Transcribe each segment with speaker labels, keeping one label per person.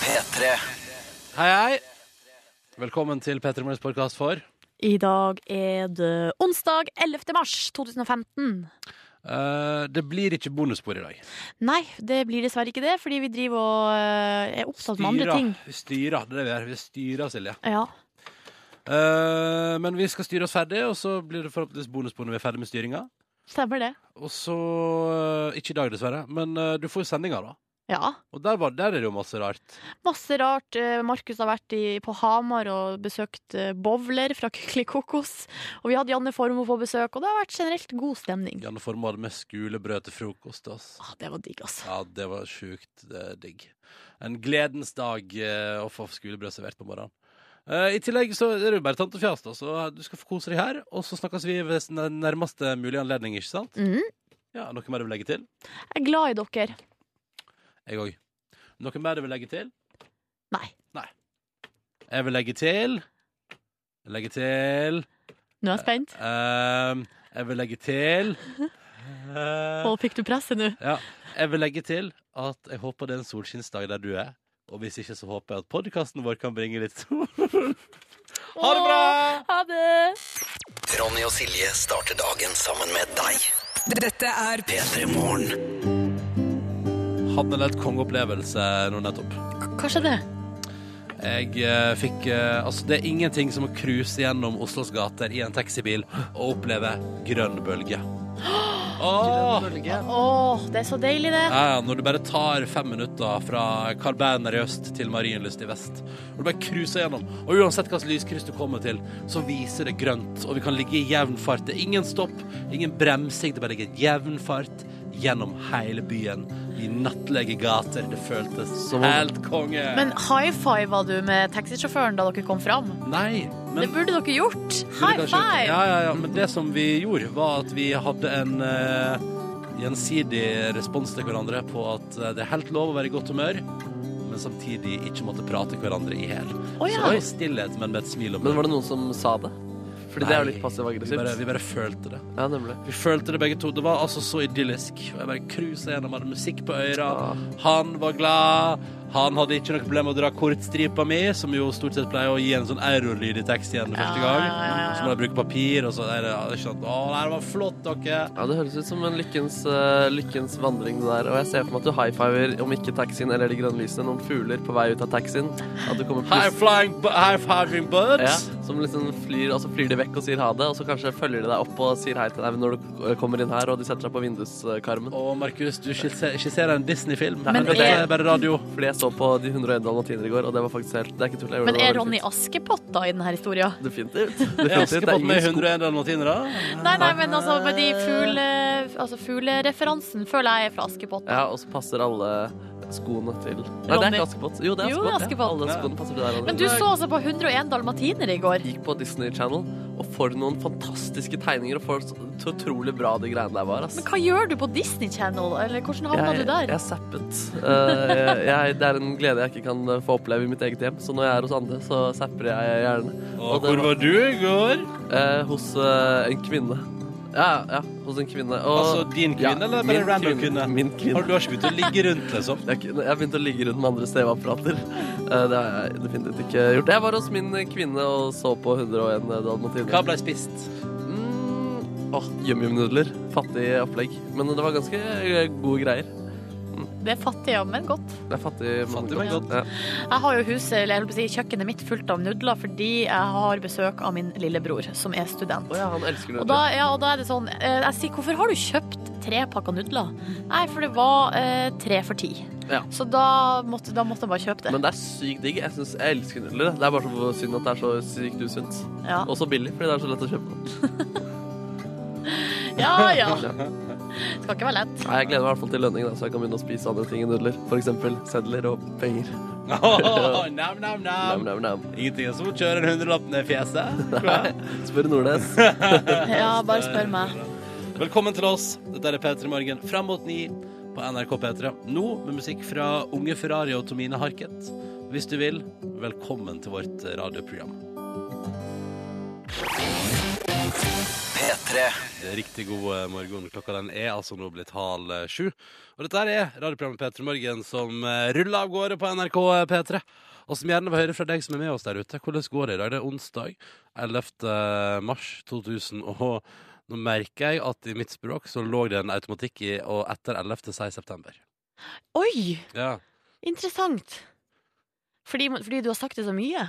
Speaker 1: P3.
Speaker 2: Hei, hei. Velkommen til Petter Morgens podkast for
Speaker 3: I dag er det onsdag 11. mars 2015.
Speaker 2: eh, Det blir ikke bonusspor i dag.
Speaker 3: Nei, det blir dessverre ikke det, fordi vi driver og eh, er opptatt med andre ting.
Speaker 2: vi styrer. Det er det vi gjør. Vi styrer, Silje.
Speaker 3: Ja.
Speaker 2: Eh, men vi skal styre oss ferdig, og så blir det forhåpentligvis bonusspor når vi er ferdig med styringa.
Speaker 3: Stemmer det.
Speaker 2: Og så eh, Ikke i dag, dessverre, men eh, du får jo sendinga, da.
Speaker 3: Ja.
Speaker 2: Og der, var, der er det jo masse rart.
Speaker 3: Masse rart. Eh, Markus har vært i, på Hamar og besøkt eh, bowler fra Kykeli Kokos. Og vi hadde Janne Formoe på besøk, og det har vært generelt god stemning.
Speaker 2: Janne Formoe hadde med skulebrød til frokost. ass.
Speaker 3: Ah, det var digg, altså.
Speaker 2: Ja, det var sjukt eh, digg. En gledens dag eh, å få skulebrød servert på morgenen. Eh, I tillegg så er det jo bare tante Fjas, da, så du skal få kose deg her. Og så snakkes vi ved s- den nærmeste mulige anledning, ikke sant?
Speaker 3: Mm.
Speaker 2: Ja, Noe mer du vil legge til?
Speaker 3: Jeg er glad i dere.
Speaker 2: Jeg òg. Noe mer du vil legge til?
Speaker 3: Nei.
Speaker 2: Jeg vil legge til Legge til
Speaker 3: Nå er jeg spent.
Speaker 2: ehm, Jeg vil legge til eh,
Speaker 3: Og fikk du presset nå?
Speaker 2: Ja, jeg vil legge til at jeg håper det er en solskinnsdag der du er. Og hvis ikke, så håper jeg at podkasten vår kan bringe litt sol. Ha det bra!
Speaker 3: Å, Ha det!
Speaker 1: Ronny og Silje starter dagen sammen med deg.
Speaker 4: Dette er
Speaker 1: P3 Morgen.
Speaker 2: Hadde en helt kongeopplevelse nå nettopp.
Speaker 3: Hva skjedde?
Speaker 2: Jeg eh, fikk eh, Altså, det er ingenting som å cruise gjennom Oslos gater i en taxibil og oppleve grønn bølge. Åh!
Speaker 3: Å, det er så deilig, det.
Speaker 2: Ja, ja, når du bare tar fem minutter fra Carl Berner i øst til Marienlyst i vest. Og du bare cruiser gjennom. Og uansett hvilket lyskryss du kommer til, så viser det grønt. Og vi kan ligge i jevn fart. Det er ingen stopp, ingen bremsing. Det bare ligger i jevn fart gjennom hele byen. I nattlige gater. Det føltes helt konge.
Speaker 3: Men high fiva du med taxisjåføren da dere kom fram?
Speaker 2: Nei,
Speaker 3: det
Speaker 2: men
Speaker 3: burde dere gjort. High
Speaker 2: Kanskje-
Speaker 3: five!
Speaker 2: Ja, ja, ja, men det som vi gjorde, var at vi hadde en eh, gjensidig respons til hverandre på at eh, det er helt lov å være i godt humør, men samtidig ikke måtte prate hverandre i hæl.
Speaker 3: Å,
Speaker 2: Så
Speaker 3: ja.
Speaker 2: det var stillhet, men med et smil om
Speaker 5: Men var det noen som sa det? Fordi det er jo
Speaker 2: Nei,
Speaker 5: litt passiv-aggressivt.
Speaker 2: Vi bare, vi bare følte det.
Speaker 5: Ja, nemlig.
Speaker 2: Vi følte det begge to. Det var altså så idyllisk. Og jeg bare cruisa gjennom, hadde musikk på øra.
Speaker 5: Ah.
Speaker 2: Han var glad. Han hadde ikke noe problem med å dra kortstripa mi, som jo stort sett pleier å gi en sånn eurolyd i taxien
Speaker 3: Ja,
Speaker 2: første gang.
Speaker 3: ja, ja, ja.
Speaker 2: Så må de bruke papir, og så er det ja, ikke sant. Å, det her var flott, dere.
Speaker 5: Ja, Det høres ut som en lykkens, eh, lykkens vandring. det der Og jeg ser for meg at du high-fiver, om ikke taxien eller de grønne lysene, noen fugler på vei ut av taxien. At du kommer
Speaker 2: High
Speaker 5: pluss-
Speaker 2: flying, bu- high fiving
Speaker 5: ja,
Speaker 2: birds.
Speaker 5: Som liksom flyr, og så flyr de vekk og sier ha det, og så kanskje følger de deg opp og sier hei til deg når du eh, kommer inn her, og de setter seg på vinduskarmen.
Speaker 2: Og Markus, du skisser- skisserer en Disney-film.
Speaker 5: Men
Speaker 2: Dette
Speaker 3: er-
Speaker 2: er bare radio.
Speaker 5: Fordi jeg så på De 101 dalmatiner i går, og det var faktisk helt Det er ikke tull. jeg gjorde
Speaker 3: Men
Speaker 5: det, det
Speaker 3: er
Speaker 5: var
Speaker 3: Ronny
Speaker 5: veldig
Speaker 3: Askepott da i denne historia?
Speaker 5: fint. Definitivt. Definitivt.
Speaker 2: Jeg husker
Speaker 5: Det er
Speaker 2: på med
Speaker 5: ingen sko-
Speaker 2: 101 dalmatinere.
Speaker 3: Nei, nei, men altså med de fugle, altså fuglereferansen føler jeg er fra Askepott.
Speaker 5: Ja, og så passer alle skoene til Nei, det er
Speaker 3: Ronny.
Speaker 5: ikke Askepott. Jo, det er
Speaker 3: Jo,
Speaker 5: Askepott.
Speaker 3: Askepott.
Speaker 5: Ja, alle skoene passer til der.
Speaker 3: Men du så altså på 101 dalmatinere i går.
Speaker 5: gikk på Disney Channel, og for noen fantastiske tegninger, og for så utrolig bra de greiene der var, ass.
Speaker 3: Men hva gjør du på Disney Channel, eller hvordan havna
Speaker 5: jeg,
Speaker 3: du der?
Speaker 5: jeg zappet. Eh, jeg, jeg, det er en glede jeg ikke kan eh, få oppleve i mitt eget hjem, så når jeg er hos andre, så zapper jeg gjerne.
Speaker 2: Og
Speaker 5: det
Speaker 2: hvor var du i går?
Speaker 5: eh, hos eh, en kvinne. Ja, ja, hos en kvinne. Og,
Speaker 2: Altså din kvinne,
Speaker 5: Ja,
Speaker 2: eller bare
Speaker 5: min
Speaker 2: random kvinne?
Speaker 5: Min kvinne.
Speaker 2: Har du har ikke begynt å ligge rundt, liksom?
Speaker 5: Jeg, jeg har begynt å ligge rundt med andre steveapparater. Eh, Det har jeg definitivt ikke gjort. Jeg var hos min kvinne og så på 101
Speaker 2: Hva
Speaker 5: dalmatiner.
Speaker 2: ble spist?
Speaker 5: Mm, åh, Yum-yum-nudler. Fattig opplegg. Men det var ganske eh, gode greier.
Speaker 3: Det er fattig, ja, men godt.
Speaker 5: Det er fattig,
Speaker 2: Fattig, men godt.
Speaker 5: Ja.
Speaker 3: Jeg har jo huset, eller jeg holdt på å si kjøkkenet mitt fullt av nudler fordi jeg har besøk av min lillebror, som er student.
Speaker 5: Å ja, han elsker
Speaker 3: Og
Speaker 5: nudler.
Speaker 3: da, ja, og da er det sånn eh, Jeg sier, hvorfor har du kjøpt tre pakker nudler? Nei, for det var eh, tre for ti.
Speaker 5: Ja.
Speaker 3: Så da måtte, da måtte jeg bare kjøpe det.
Speaker 5: Men det er sykt digg. Jeg, synes, jeg elsker nudler. Det er bare så synd at det er så sykt usunt.
Speaker 3: ja.
Speaker 5: Og så billig, fordi det er så lett å kjøpe.
Speaker 3: ja, ja. Skal ikke være lett.
Speaker 5: Nei, jeg gleder meg i hvert fall til lønning, da, så jeg kan begynne å spise andre ting enn nudler. F.eks. sedler og penger.
Speaker 2: Åh, nam, nam,
Speaker 5: Nam,
Speaker 2: nam.
Speaker 5: nam, nam.
Speaker 2: Ingenting er som å kjøre en hundrelapp ned i fjeset. tror jeg.
Speaker 5: Spør Nordnes.
Speaker 3: Ja, bare spør meg.
Speaker 2: Velkommen til oss. Dette er P3 Morgen fram mot ni på NRK P3. Nå med musikk fra Unge Ferrari og Tomine Harket. Hvis du vil, velkommen til vårt radioprogram.
Speaker 1: P3.
Speaker 2: Riktig god eh, morgen. Klokka den er altså nå blitt halv eh, sju. Og dette her er radioprogrammet P3 Morgen som eh, ruller av gårde på NRK P3. Og som gjerne vil høre fra deg som er med oss der ute. Hvordan går det i dag? Det er onsdag 11. mars 2000. Og nå merker jeg at i mitt språk så lå det en automatikk i og etter 11. til 6. september.
Speaker 3: Oi,
Speaker 2: Ja,
Speaker 3: interessant. Fordi, fordi du har sagt det så mye.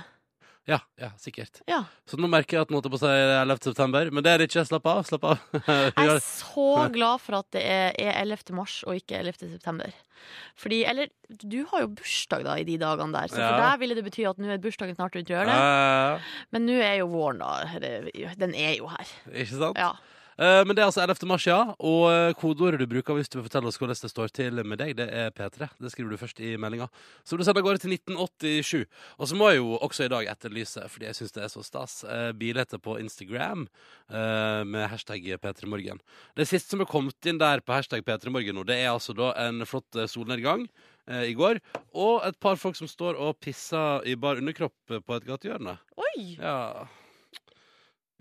Speaker 2: ja, ja sikkert.
Speaker 3: Ja.
Speaker 2: Så nå merker jeg at den holdt på å si 11. september. Men det er det ikke. Slapp av. slapp av.
Speaker 3: Jeg
Speaker 2: Ja,
Speaker 3: er så glad for at det er er 11. mars og ikke 11. september. Fordi, eller, du har jo bursdag da i de dagene der, så for
Speaker 2: Ja.
Speaker 3: deg ville det bety at nå er bursdagen snart rundt hjørnet.
Speaker 2: ja,
Speaker 3: Men nå er jo våren da, det- den er jo her.
Speaker 2: ja. ikke sant?
Speaker 3: Ja.
Speaker 2: Eh, Men det er altså 11. mars, ja. Og eh, kodeordet du bruker hvis du vil fortelle oss hvordan det står til med deg, det er P3. Det skriver du først i meldinga. Så du sender av gårde til 1987. Og så må jeg jo også i dag etterlyse, fordi jeg syns det er så stas, eh, bilder på Instagram eh, med hashtag P3morgen. Det siste som er kommet inn der på hashtag P3morgen nå, det er altså da en flott eh, solnedgang. eh, I går, og et par folk som står og pisser i bar underkropp eh, på et gatehjørne.
Speaker 3: Oi,
Speaker 2: Ja.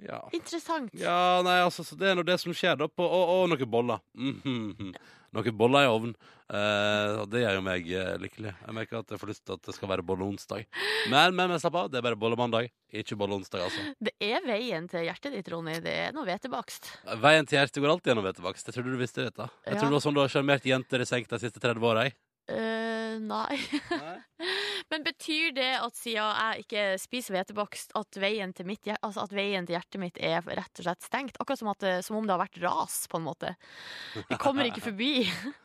Speaker 2: ja.
Speaker 3: interessant.
Speaker 2: Ja, nei, altså, så det er nå det som skjer, da. På, og, og noen boller. Mhm. Noen boller i ovnen. Eh, og det gjør jo meg eh, lykkelig. Jeg merker at jeg får lyst til at det skal være bolleonsdag. Men, men, men slapp av, det er bare bollemandag. Ikke bolleonsdag, altså.
Speaker 3: Det er veien til hjertet ditt, Ronny. Det er noe hvetebakst.
Speaker 2: Veien til hjertet går alltid gjennom hvetebakst. Jeg trodde du visste dette. Jeg
Speaker 3: Ja.
Speaker 2: tror det var sånn du har sjarmert jenter i senk de siste 30 åra. jeg.
Speaker 3: Eh, nei. Men betyr det at siden jeg ikke spiser hvetebakst, at veien til, mitt, hjer- altså at veien til hjertet mitt er rett og slett stengt? Akkurat som, at, det- som om det har vært ras, på en måte. Jeg kommer ikke forbi.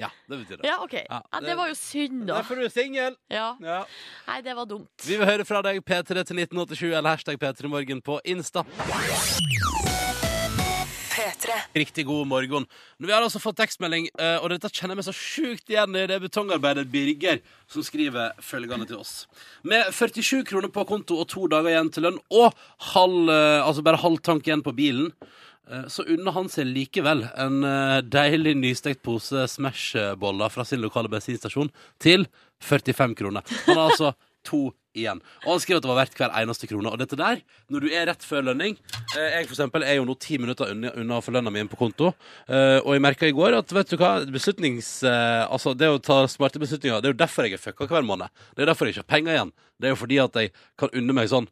Speaker 2: Ja, det betyr det.
Speaker 3: Ja, OK.
Speaker 2: Ja,
Speaker 3: Ja, det
Speaker 2: det-
Speaker 3: var jo synd, da.
Speaker 2: Derfor er du singel!
Speaker 3: Ja.
Speaker 2: Ja.
Speaker 3: Nei, det var dumt.
Speaker 2: Vi vil høre fra deg, P3 til 1987, eller hashtag P3morgen på Insta. Riktig god morgen. Men Vi har altså fått tekstmelding, eh, og dette kjenner jeg meg så sjukt igjen i. Det er betongarbeider Birger som skriver følgende til oss. Med 47 kroner på konto og to dager igjen til lønn, og halv, eh, altså bare halv tank igjen på bilen, eh, så unner han seg likevel en eh, deilig nystekt pose Smash-boller fra sin lokale bensinstasjon til 45 kroner. Han har altså to igjen. Og han skrev at det var verdt hver eneste krone. Og dette der, når du er rett før lønning eh, Jeg for eksempel er jo nå ti minutter unna, unna å få lønna mi inn på konto. Eh, og jeg merka i går at vet du hva, beslutnings... Eh, altså, det å ta smarte beslutninger, det er jo derfor jeg er fucka hver måned. Det er derfor jeg ikke har penger igjen. Det er jo fordi at jeg kan unne meg sånn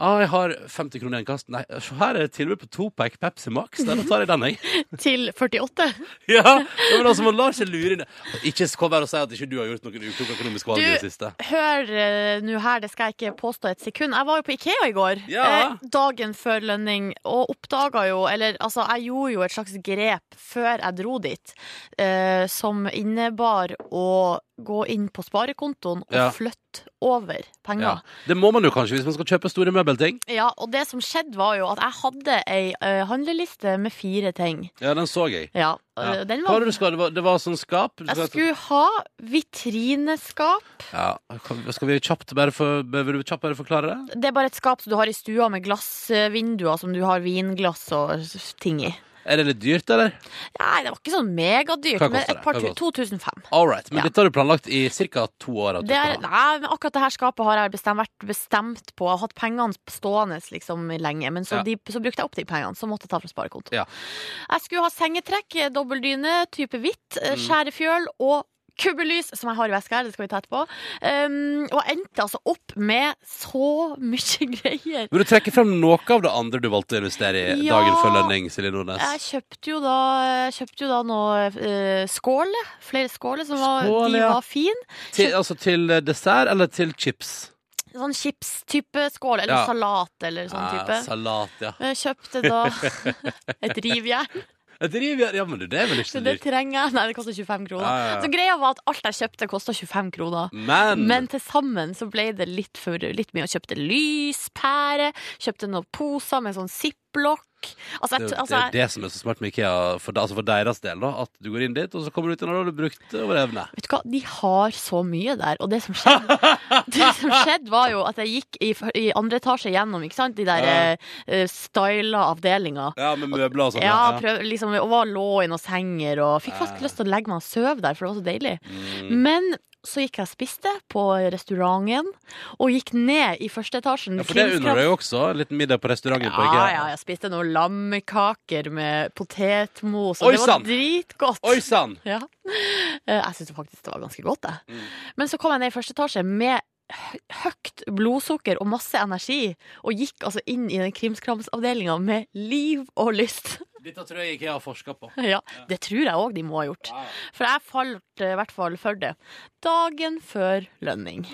Speaker 2: Ah, jeg har 50 kroner i en kast. Nei, se her er det tilbud på topack Pepsi Max. Nei, Da tar jeg den, jeg.
Speaker 3: Til 48.
Speaker 2: Ja, ja, men altså, man lar seg lure inn. Ikke kom her og si at ikke du har gjort noen ukloke økonomiske valg i det
Speaker 3: Du-
Speaker 2: siste.
Speaker 3: Hør eh, nå her, det skal jeg ikke påstå et sekund. Jeg var jo på Ikea i går,
Speaker 2: Ja.
Speaker 3: eh, dagen før lønning, og oppdaga jo Eller altså, jeg gjorde jo et slags grep før jeg dro dit, eh, som innebar å gå inn på sparekontoen og
Speaker 2: Ja.
Speaker 3: flytte over
Speaker 2: Ja.
Speaker 3: penger. Ja.
Speaker 2: Det må man jo kanskje hvis man skal kjøpe store møbelting.
Speaker 3: og det som skjedde, var jo at jeg hadde ei eh, handleliste med fire ting.
Speaker 2: Ja, den så jeg.
Speaker 3: Ja,
Speaker 2: Ja.
Speaker 3: eh, den
Speaker 2: Hva var
Speaker 3: var
Speaker 2: det du skal? Det var, det var sånn skap? Du
Speaker 3: jeg
Speaker 2: skal-
Speaker 3: skulle ha vitrineskap.
Speaker 2: Ja, kan- skal vi kjapt bare, for, vil du kjapt bare forklare det?
Speaker 3: Det er bare et skap som du har i stua med glassvinduer som du har vinglass og s- ting i.
Speaker 2: Er det litt dyrt, eller?
Speaker 3: Nei, det var ikke sånn megadyrt,
Speaker 2: Hva
Speaker 3: men
Speaker 2: koster
Speaker 3: et
Speaker 2: det?
Speaker 3: par
Speaker 2: Hva
Speaker 3: tu-
Speaker 2: koster
Speaker 3: 2005.
Speaker 2: All right, men
Speaker 3: Ja.
Speaker 2: dette har du planlagt i ca. to år. at du
Speaker 3: Det er,
Speaker 2: skal ha.
Speaker 3: nei, men akkurat det her skapet har jeg bestemt, vært bestemt på. Jeg har hatt pengene stående liksom lenge, men så,
Speaker 2: Ja.
Speaker 3: de, så brukte jeg opp de pengene, så måtte jeg ta fra sparekonto.
Speaker 2: Ja.
Speaker 3: Jeg skulle ha sengetrekk, dobbeldyne, type hvitt, eh,
Speaker 2: Mm.
Speaker 3: skjærefjøl og Kubbelys, som jeg har i veska her, det skal vi ta etterpå. Um, og jeg endte altså opp med så mye greier.
Speaker 2: Vil du trekke frem noe av det andre du valgte å investere i
Speaker 3: Ja.
Speaker 2: dagen før lønning, Silje Nordnes?
Speaker 3: Jeg kjøpte jo da, jeg kjøpte jo da noe eh, skåle, flere skåle, som var,
Speaker 2: Skål,
Speaker 3: de
Speaker 2: ja.
Speaker 3: var fine.
Speaker 2: Til, altså til eh, dessert eller til chips?
Speaker 3: Sånn chips-type skål, eller
Speaker 2: Ja.
Speaker 3: salat eller sånn type.
Speaker 2: Ja, salat, ja.
Speaker 3: Men jeg kjøpte da et rivjern,
Speaker 2: Et rivjern, ja, men du, det er vel ikke
Speaker 3: så
Speaker 2: så
Speaker 3: det
Speaker 2: dyrt.
Speaker 3: trenger jeg. Nei, det koster 25 kroner.
Speaker 2: Ja, ja, ja.
Speaker 3: Så greia var at alt jeg kjøpte kosta 25 kroner.
Speaker 2: Men,
Speaker 3: Men til sammen så ble det litt, for, litt mye. Jeg kjøpte lyspære, kjøpte noen poser med sånn ziplock. Altså,
Speaker 2: det,
Speaker 3: jeg,
Speaker 2: er jo-
Speaker 3: altså,
Speaker 2: det er jo det som er så smart med Ikea, for, altså for deres del, da, at du går inn dit, og så kommer du ut igjen, og da har du brukt over evne.
Speaker 3: Vet du hva, de har så mye der, og det som skjedde, det som skjedde var jo at jeg gikk i, i andre etasje gjennom, ikke sant, de der
Speaker 2: Ja.
Speaker 3: eh, eh, styla avdelinger.
Speaker 2: Ja, med møbler og sånn.
Speaker 3: Ja, prøv, liksom, og var, lå i noen senger, og fikk
Speaker 2: Ja.
Speaker 3: faktisk lyst til å legge meg og søve der, for det var så deilig.
Speaker 2: Mm.
Speaker 3: Men så gikk jeg og spiste på restauranten, og gikk ned i første etasjen.
Speaker 2: Ja, for det unner
Speaker 3: Krimskraft-
Speaker 2: deg jo også. En liten middag på restauranten på
Speaker 3: Ja,
Speaker 2: IKEA.
Speaker 3: ja, jeg spiste noen lammekaker med potetmos,
Speaker 2: Oi,
Speaker 3: og det
Speaker 2: sann!
Speaker 3: var dritgodt.
Speaker 2: Oi sann!
Speaker 3: Ja. Eh, Jeg syns faktisk det var ganske godt, jeg. Men så kom jeg ned i første etasje med hø- høyt blodsukker og masse energi, og gikk altså inn i den krimskramsavdelinga med liv og lyst.
Speaker 2: Dette tror jeg IKEA har forska på.
Speaker 3: ja, det tror jeg òg de må ha gjort. For jeg falt eh, i hvert fall for det dagen før lønning.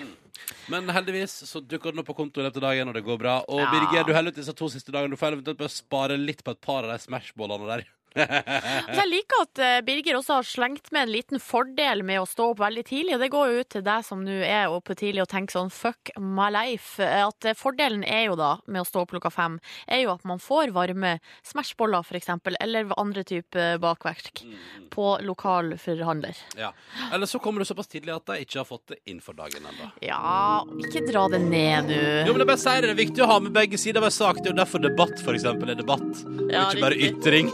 Speaker 2: Men heldigvis så dukker den opp på kontoen etter dagen, og det går bra. Og
Speaker 3: Ja.
Speaker 2: Birger, du holder ut disse to siste dagene. Du får eventuelt bare spare litt på et par av de smashbollene der.
Speaker 3: Altså, jeg liker at eh, Birger også har slengt med en liten fordel med å stå opp veldig tidlig, og det går jo ut til deg som nå er oppe tidlig og tenker sånn fuck my life. eh, At eh, fordelen er jo da med å stå opp klokka fem, er jo at man får varme smashboller for eksempel, eller andre typer bakverk
Speaker 2: Mm.
Speaker 3: på lokal forhandler.
Speaker 2: Ja. Eller så kommer du såpass tidlig at de ikke har fått det inn for dagen ennå.
Speaker 3: Ja, ikke dra det ned
Speaker 2: Jo, men
Speaker 3: nå.
Speaker 2: jeg bare sier det, det er viktig å ha med begge sider av en sak. Det er jo derfor debatt, for eksempel, er debatt. Og
Speaker 3: Ja,
Speaker 2: ikke bare
Speaker 3: riktig.
Speaker 2: ytring.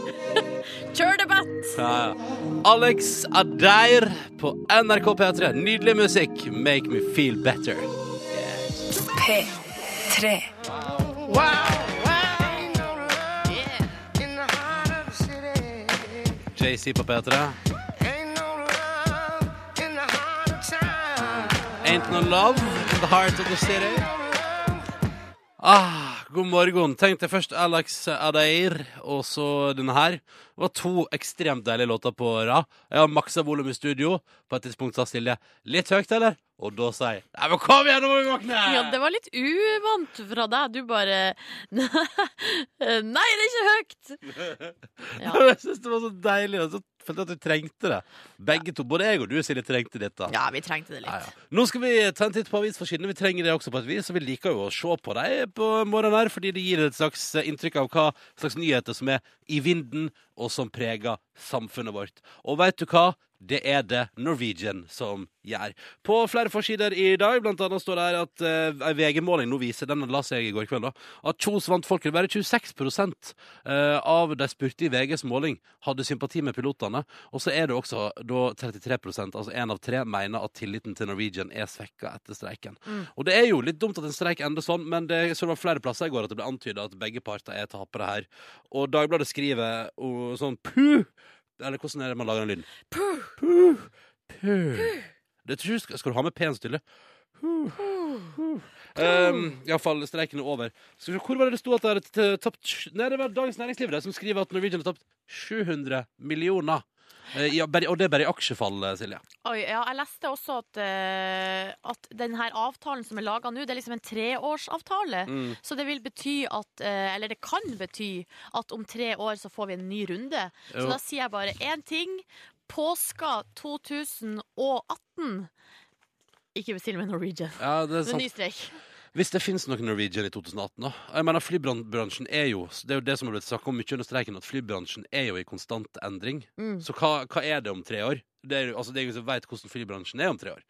Speaker 3: Kjør debatt!
Speaker 2: Ja, ja. Alex Adair på NRK P3. Nydelig musikk. Make me feel better.
Speaker 4: P3.
Speaker 2: JC på P3. Ain't no love in the heart of the city. Ah, god morgen. Tenk deg først Alex Adair, og så denne her. Det var to ekstremt deilige låter på rad. Jeg har maksa volum i studio. På et tidspunkt sa Silje 'litt høyt', eller? Og da sa jeg 'nei, men kom igjen, nå må vi våkne'!
Speaker 3: Ja, det var litt uvant fra deg. Du bare Nei, det er ikke høyt! Ja.
Speaker 2: Jeg synes det var så deilig, og så følte jeg at du trengte det. Begge to, både jeg og du, Silje, trengte dette.
Speaker 3: Ja, vi trengte det
Speaker 2: Ja,
Speaker 3: litt.
Speaker 2: ja. Nå skal vi ta en titt på avisforsidene. Vi trenger det også på et vis, og vi liker jo å se på dem på morgenen her, fordi det gir et slags eh, inntrykk av hva slags nyheter som er i vinden, og som preger samfunnet vårt. Og veit du hva? Det er det Norwegian som gjør. På flere forsider i dag, blant annet står det her at eh, ei VG-måling nå viser, den la seg i går kveld, da, at Kjos vant folket. Bare 26 eh, av de spurte i VGs måling hadde sympati med pilotene. Og så er det også da 33 altså én av tre, mener at tilliten til Norwegian er svekka etter streiken. Og det er jo litt dumt at en streik ender sånn, men det, så det var flere plasser i går at det ble antyda at begge parter er tapere her. Og Dagbladet skriver og sånn puh! Eller hvordan er det man lager den lyden? Puh! Puh! Det tror jeg, skal, skal du ha med pen stille? Um, Iallfall streiken er over. Skal vi se, hvor var det det sto at det hadde t- tapt sj- Nei, det var Dagens Næringsliv det, som skriver at Norwegian har tapt 700 millioner. Eh, ja, bare, og det er bare i aksjefall, eh, Silje.
Speaker 3: Oi, ja, jeg leste også at, eh, at denne avtalen som er laga nå, det er liksom en treårsavtale.
Speaker 2: Mm.
Speaker 3: Så det vil bety at eh, Eller det kan bety at om tre år så får vi en ny runde. Så
Speaker 2: Jo.
Speaker 3: da sier jeg bare én ting. Påska 2018. Ikke bestill med Norwegian.
Speaker 2: Ja, det er
Speaker 3: Men ny
Speaker 2: sant.
Speaker 3: streik.
Speaker 2: Hvis det finnes noen Norwegian i 2018, da. Jeg mener, flybransjen er jo Det er jo det som har blitt snakket om mye under streiken, at flybransjen er jo i konstant endring.
Speaker 3: Mm.
Speaker 2: Så hva, hva er det om tre år? Det er, jo- altså, det er ingen som vet hvordan flybransjen er om tre år.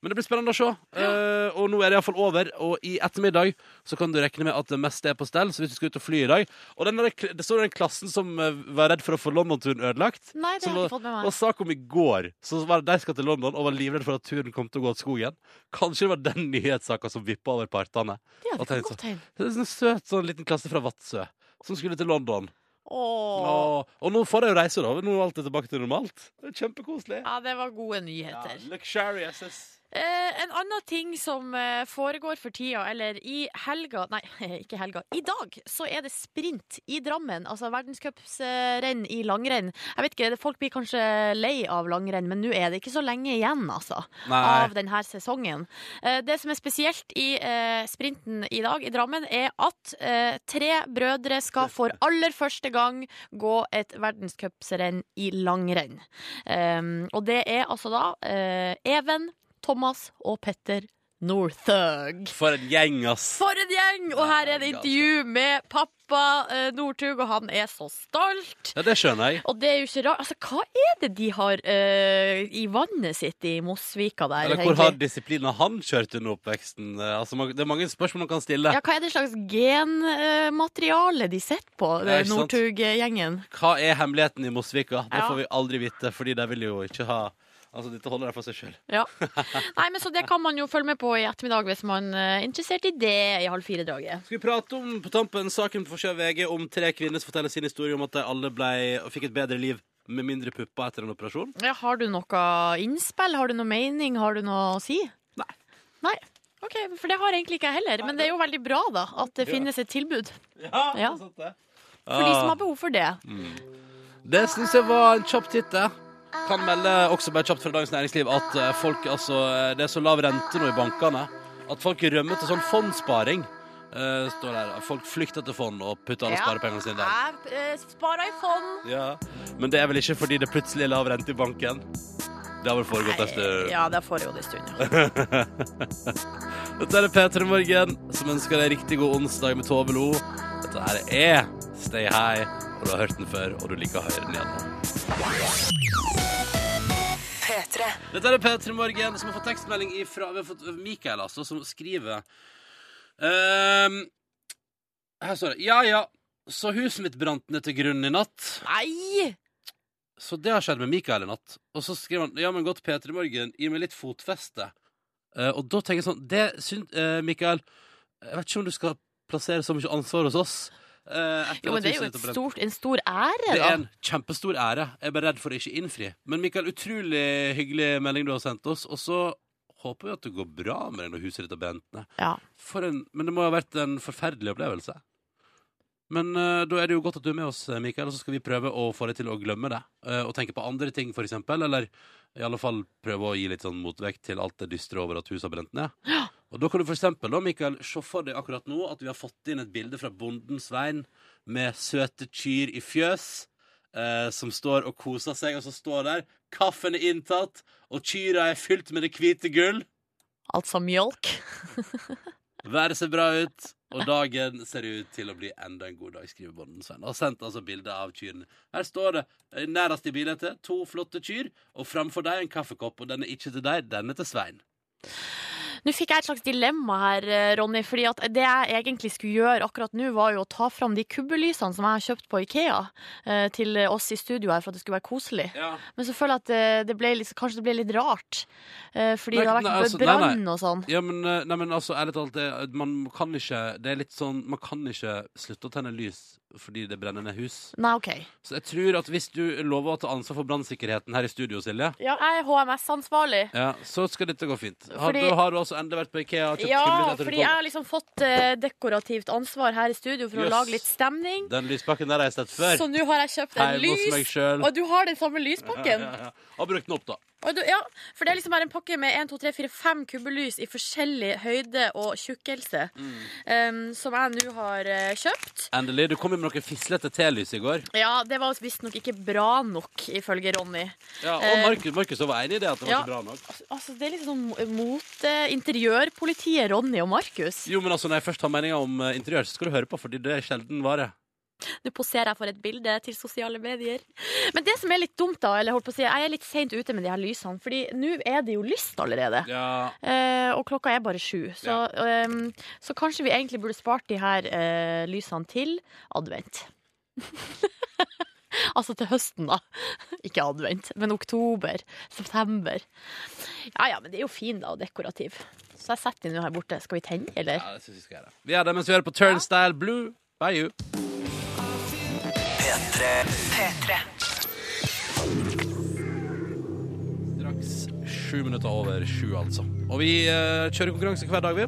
Speaker 2: Men det blir spennende å se. Eh, og nå er det iallfall over. Og i ettermiddag så kan du regne med at det meste er på stell. Så hvis du skal ut og fly i dag Og den der, det står den klassen som eh, var redd for å få London-turen ødelagt.
Speaker 3: Nei, det
Speaker 2: som
Speaker 3: har jeg
Speaker 2: var-
Speaker 3: ikke fått med
Speaker 2: og
Speaker 3: meg.
Speaker 2: sak om i går, så var det de skal til London og var livredd for at turen kom til å gå til skogen. Kanskje det var den nyhetssaka som vippa over partene.
Speaker 3: Ja,
Speaker 2: og
Speaker 3: det kan
Speaker 2: tenkte
Speaker 3: godt hende.
Speaker 2: Det er En søt sånn liten klasse fra Vadsø som skulle til London.
Speaker 3: Åh.
Speaker 2: Og, og nå får de jo reise, da. Nå er alt tilbake til normalt. Det er Kjempekoselig.
Speaker 3: Ja, det var gode nyheter.
Speaker 2: luxurious. yes.
Speaker 3: Eh, en annen ting som eh, foregår for tida, eller i helga Nei, ikke helga. I dag så er det sprint i Drammen. Altså verdenscupsrenn i langrenn. Jeg vet ikke, Folk blir kanskje lei av langrenn, men nå er det ikke så lenge igjen, altså
Speaker 2: Nei.
Speaker 3: av denne sesongen. Eh, Det som er spesielt i eh, sprinten i dag i Drammen, er at eh, tre brødre skal for aller første gang gå et verdenscuprenn i langrenn. Um, og det er altså da eh, Even, Thomas og Petter Northug.
Speaker 2: For en gjeng, ass.
Speaker 3: For en gjeng! Og her er det intervju
Speaker 2: altså.
Speaker 3: med pappa eh, Northug, og han er så stolt.
Speaker 2: Ja, det skjønner jeg.
Speaker 3: Og det er jo ikke rart. Altså, hva er det de har eh, i vannet sitt i Mosvika der?
Speaker 2: Eller hvor har disiplinen han kjørt under oppveksten? Eh, Altså, man- det er mange spørsmål man kan stille.
Speaker 3: Ja, hva er det slags genmateriale de sitter på, eh,
Speaker 2: Ja, ikke sant?
Speaker 3: Northug-gjengen?
Speaker 2: Hva er hemmeligheten i Mosvika? Det
Speaker 3: Ja.
Speaker 2: får vi aldri vite, fordi de vil jo ikke ha Altså, dette holder jeg for seg sjøl.
Speaker 3: Ja. Nei, men Så det kan man jo følge med på i ettermiddag hvis man eh, er interessert i det i halv fire-draget.
Speaker 2: Skal vi prate om på tampen saken på forsida av VG om tre kvinner som forteller sin historie om at de alle ble, og fikk et bedre liv med mindre pupper etter en operasjon?
Speaker 3: Ja, har du noe innspill? Har du noe mening? Har du noe å si?
Speaker 2: Nei.
Speaker 3: Nei. Ok, For det har egentlig ikke jeg heller. Men det er jo veldig bra da, at det finnes et tilbud
Speaker 2: Ja,
Speaker 3: Ja.
Speaker 2: sant det.
Speaker 3: for de som har behov for det.
Speaker 2: Det syns jeg var en kjapp titt, det. Kan melde også bare kjapt fra Dagens Næringsliv at eh, folk, altså, eh, det er så lav rente nå i bankene at folk rømmer til sånn fondssparing. eh, står der. Folk flykter til fond og putter alle sparepengene sine der.
Speaker 3: Jeg eh, sparer i fond.
Speaker 2: Ja. Men det er vel ikke fordi det plutselig er lav rente i banken? Det eh, har vel foregått en stund.
Speaker 3: Ja, det får jeg jo det en stund, ja.
Speaker 2: Dette er P3 Morgen, som ønsker deg riktig god onsdag med Tove Lo. Dette her er Stay High, og du har hørt den før, og du liker å høre den igjen nå. Dette er P3 Morgen, som har fått tekstmelding ifra vi har fått Mikael, altså, som skriver ehm, Her står det Ja, ja, så huset mitt brant ned til grunnen i natt.
Speaker 3: Nei!
Speaker 2: Så det har skjedd med Mikael i natt. Og så skriver han Ja, men godt, Peter i morgen, gi meg litt fotfeste. Eh, og da tenker jeg sånn Det syns eh, Mikael Jeg vet ikke om du skal plassere så mye ansvar hos oss. eh, etter
Speaker 3: Jo, men
Speaker 2: at
Speaker 3: det er jo
Speaker 2: huset
Speaker 3: et
Speaker 2: ditt har brent.
Speaker 3: stort, en stor ære,
Speaker 2: Det
Speaker 3: da.
Speaker 2: er en kjempestor ære. Jeg er bare redd for å ikke innfri. Men Mikael, utrolig hyggelig melding du har sendt oss. Og så håper vi at det går bra med det når huset ditt har brent ned.
Speaker 3: Ja.
Speaker 2: For en, men det må ha vært en forferdelig opplevelse. Men eh, da er det jo godt at du er med oss, eh, Mikael, og så skal vi prøve å få deg til å glemme det. eh, og tenke på andre ting, for eksempel. Eller i alle fall prøve å gi litt sånn motvekt til alt det dystre over at huset har brent ned. Og da kan du for eksempel, da, Mikael, se for deg akkurat nå at vi har fått inn et bilde fra bonden Svein med søte kyr i fjøs eh, som står og koser seg, og som står der. Kaffen er inntatt, og kyra er fylt med det hvite gull.
Speaker 3: Altså mjølk.
Speaker 2: Været ser bra ut, og dagen ser ut til å bli enda en god dag, skriver bonden Svein. Og har sendt altså bilde av kyrne. Her står det eh, nærest i bildet to flotte kyr, og framfor deg en kaffekopp. Og den er ikke til deg, den er til Svein.
Speaker 3: Nå fikk jeg et slags dilemma her, eh, Ronny. fordi at det jeg egentlig skulle gjøre akkurat nå, var jo å ta fram de kubbelysene som jeg har kjøpt på Ikea, eh, til oss i studio her for at det skulle være koselig.
Speaker 2: Ja.
Speaker 3: Men så føler jeg at eh, det ble litt, kanskje det ble litt rart. eh, Fordi
Speaker 2: Nei,
Speaker 3: det har
Speaker 2: nei,
Speaker 3: vært
Speaker 2: altså,
Speaker 3: b-
Speaker 2: nei, nei.
Speaker 3: brann og sånn.
Speaker 2: Ja, men, eh, nei, men altså, ærlig talt, det, man kan ikke Det er litt sånn Man kan ikke slutte å tenne lys fordi det brenner ned hus.
Speaker 3: Nei, OK.
Speaker 2: Så jeg tror at hvis du lover å ta ansvar for brannsikkerheten her i studio, Silje,
Speaker 3: Ja, jeg er HMS-ansvarlig.
Speaker 2: ja, så skal dette gå fint. Har,
Speaker 3: Fordi-
Speaker 2: da har du altså endelig vært på Ikea og kjøpt
Speaker 3: Ja,
Speaker 2: skummelt etter du
Speaker 3: fordi jeg
Speaker 2: kom.
Speaker 3: har liksom fått eh, dekorativt ansvar her i studio for
Speaker 2: Jøss.
Speaker 3: å lage litt stemning.
Speaker 2: Den lyspakken der har jeg sett før.
Speaker 3: Så nå har jeg kjøpt en
Speaker 2: Hjemme hos meg
Speaker 3: lys,
Speaker 2: selv.
Speaker 3: og du har den samme lyspakken.
Speaker 2: Ja, ja. Har brukt den opp, da.
Speaker 3: Og du, ja, for det er liksom bare en pakke med 1, 2, 3, 4, 5 kubbelys i forskjellig høyde og tjukkelse.
Speaker 2: Mm.
Speaker 3: Um, som jeg nå har eh, kjøpt.
Speaker 2: Endelig. Du kom jo med noen fislete telys i går.
Speaker 3: Ja, det var visstnok ikke bra nok, ifølge Ronny.
Speaker 2: Ja, og
Speaker 3: Eh.
Speaker 2: Markus, Markus var enig i det. at det var
Speaker 3: Ja.
Speaker 2: ikke bra nok
Speaker 3: Altså, Det er liksom sånn mot eh, interiørpolitiet Ronny og Markus.
Speaker 2: Jo, men altså, Når jeg først har meninger om eh, interiør, så skal du høre på, fordi det er sjelden vare.
Speaker 3: Nå poserer jeg for et bilde til sosiale medier. Men det som er litt dumt, da, eller holdt på å si, jeg er litt seint ute med de her lysene, fordi nå er det jo lyst allerede.
Speaker 2: Ja,
Speaker 3: Eh, og klokka er bare sju, så, ehm, så kanskje vi egentlig burde spart de her eh, lysene til advent. altså til høsten, da. Ikke advent, men oktober, september. Ja ja, men det er jo fin da, og dekorativ. Så jeg setter de nå her borte. Skal vi tenne, eller?
Speaker 2: ja det synes jeg skal gjøre. Vi gjør det mens vi hører på Turnstyle Blue. By you. Straks sju minutter over sju, altså. Og vi eh, kjører konkurranse hver dag, vi.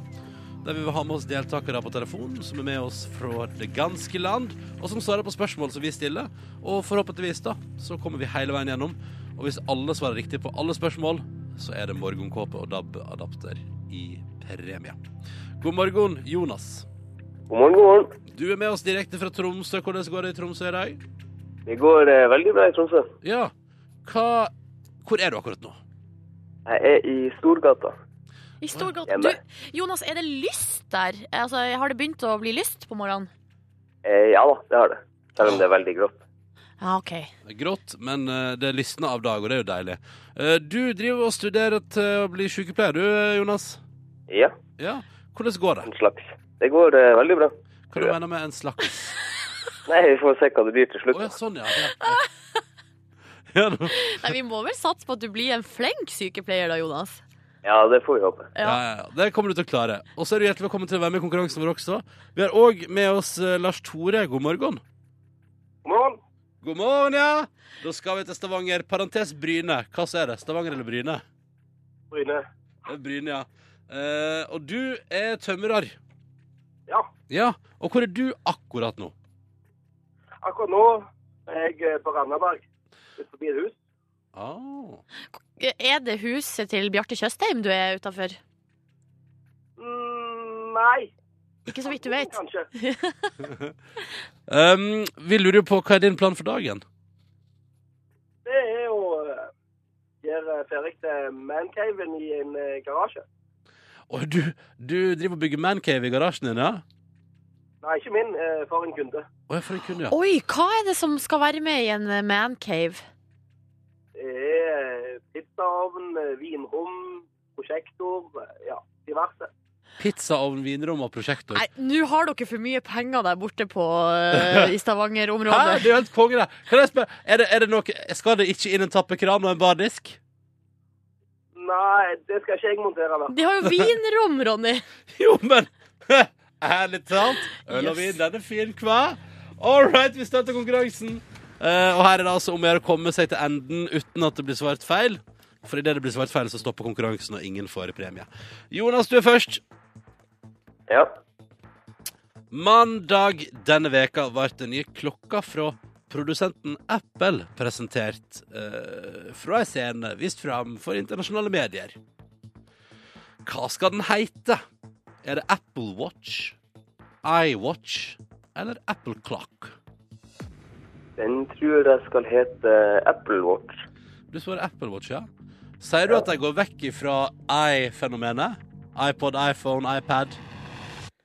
Speaker 2: Der vi vil ha med oss deltakere på telefon som er med oss fra det ganske land, og som svarer på spørsmål som vi stiller. Og forhåpentligvis, da, så kommer vi hele veien gjennom. Og hvis alle svarer riktig på alle spørsmål, så er det morgenkåpe og DAB-adapter i premie. God morgen, Jonas.
Speaker 4: God morgen, god morgen.
Speaker 2: Du er med oss direkte fra Tromsø. Hvordan går det i Tromsø i dag?
Speaker 4: Det går eh, veldig bra i Tromsø.
Speaker 2: Ja, hva Hvor er du akkurat nå?
Speaker 4: Jeg er i Storgata.
Speaker 3: I stor godt.
Speaker 4: Hjemme.
Speaker 3: Du, Jonas, er det lyst der? Altså, har det begynt å bli lyst på morgenen?
Speaker 4: Eh, ja da, det har det. Selv om det er veldig grått.
Speaker 3: Ja, OK.
Speaker 2: Det er grått, men eh, det lysner av dag, og det er jo deilig. Eh, du driver og studerer til å bli sykepleier, du, eh, Jonas.
Speaker 4: Ja,
Speaker 2: Ja. Hvordan går det?
Speaker 4: en slags. Det går eh, veldig bra.
Speaker 2: Hva du mener med en slags
Speaker 4: Nei, vi får se hva det blir til
Speaker 2: Å
Speaker 4: slutt.
Speaker 2: ja, sånn, ja. ja. Ja, da-
Speaker 3: Nei, vi må vel satse på at du blir en flink sykepleier da, Jonas.
Speaker 4: Ja, det får vi håpe.
Speaker 3: Ja.
Speaker 2: Ja, ja, ja. Det kommer du til å klare. Og så er du hjertelig velkommen til å være med i konkurransen vår også. Vi har òg med oss eh, Lars Tore. God morgen.
Speaker 4: God morgen.
Speaker 2: God morgen, ja. Da skal vi til Stavanger. Parentes Bryne. Hva så er det? Stavanger eller Bryne?
Speaker 4: Bryne.
Speaker 2: Det er Bryne, ja. Eh, og du er tømrer.
Speaker 4: Ja.
Speaker 2: Ja. Og hvor er du akkurat nå?
Speaker 4: Akkurat nå er jeg eh, på Randaberg, ut forbi et hus.
Speaker 2: Ah.
Speaker 3: Er det huset til Bjarte Tjøstheim du er utafor?
Speaker 4: Mm, nei.
Speaker 3: Ikke så vidt du vet.
Speaker 4: Kanskje.
Speaker 2: Um, vi lurer jo på hva er din plan for dagen?
Speaker 4: Det er eh, å gjøre ferdig eh, til mancaven i en eh, garasje.
Speaker 2: Å, du, du driver og bygger mancave i garasjen din, ja?
Speaker 4: Nei, ikke min, eh, for en kunde.
Speaker 2: Å, jeg får en kunde, ja.
Speaker 3: Oi, hva er det som skal være med i en eh, mancave?
Speaker 4: Det er pizzaovn, vinrom, prosjektor, ja, diverse.
Speaker 2: Pizzaovn, vinrom og prosjektor.
Speaker 3: Nei, nå har dere for mye penger der borte på eh, i
Speaker 2: Hæ?
Speaker 3: Stavanger-området.
Speaker 2: Det er jo helt konge, det. Kan jeg spørre, er det, er det noe, skal det ikke inn en tappekran og en bardisk?
Speaker 4: Nei, det skal ikke jeg montere, da.
Speaker 3: De har jo vinrom, Ronny!
Speaker 2: Jo, men Ærlig talt. Øl og vin,
Speaker 3: Yes.
Speaker 2: den er fin, hva? All right, vi starter konkurransen. Eh, og her er det altså om å gjøre å komme seg til enden uten at det blir svart feil. For idet det blir svart feil, så stopper konkurransen, og ingen får premie. Jonas, du er først.
Speaker 4: Ja.
Speaker 2: Mandag denne veka ble den nye klokka fra produsenten Apple presentert eh, fra ei scene vist fram for internasjonale medier. Hva skal den heite? Er det Apple Watch, iWatch eller Apple Clock?
Speaker 4: Den tror jeg skal hete Apple Watch.
Speaker 2: Du svarer Apple Watch, ja. Sier du at de går vekk ifra i-fenomenet? iPod, iPhone, iPad?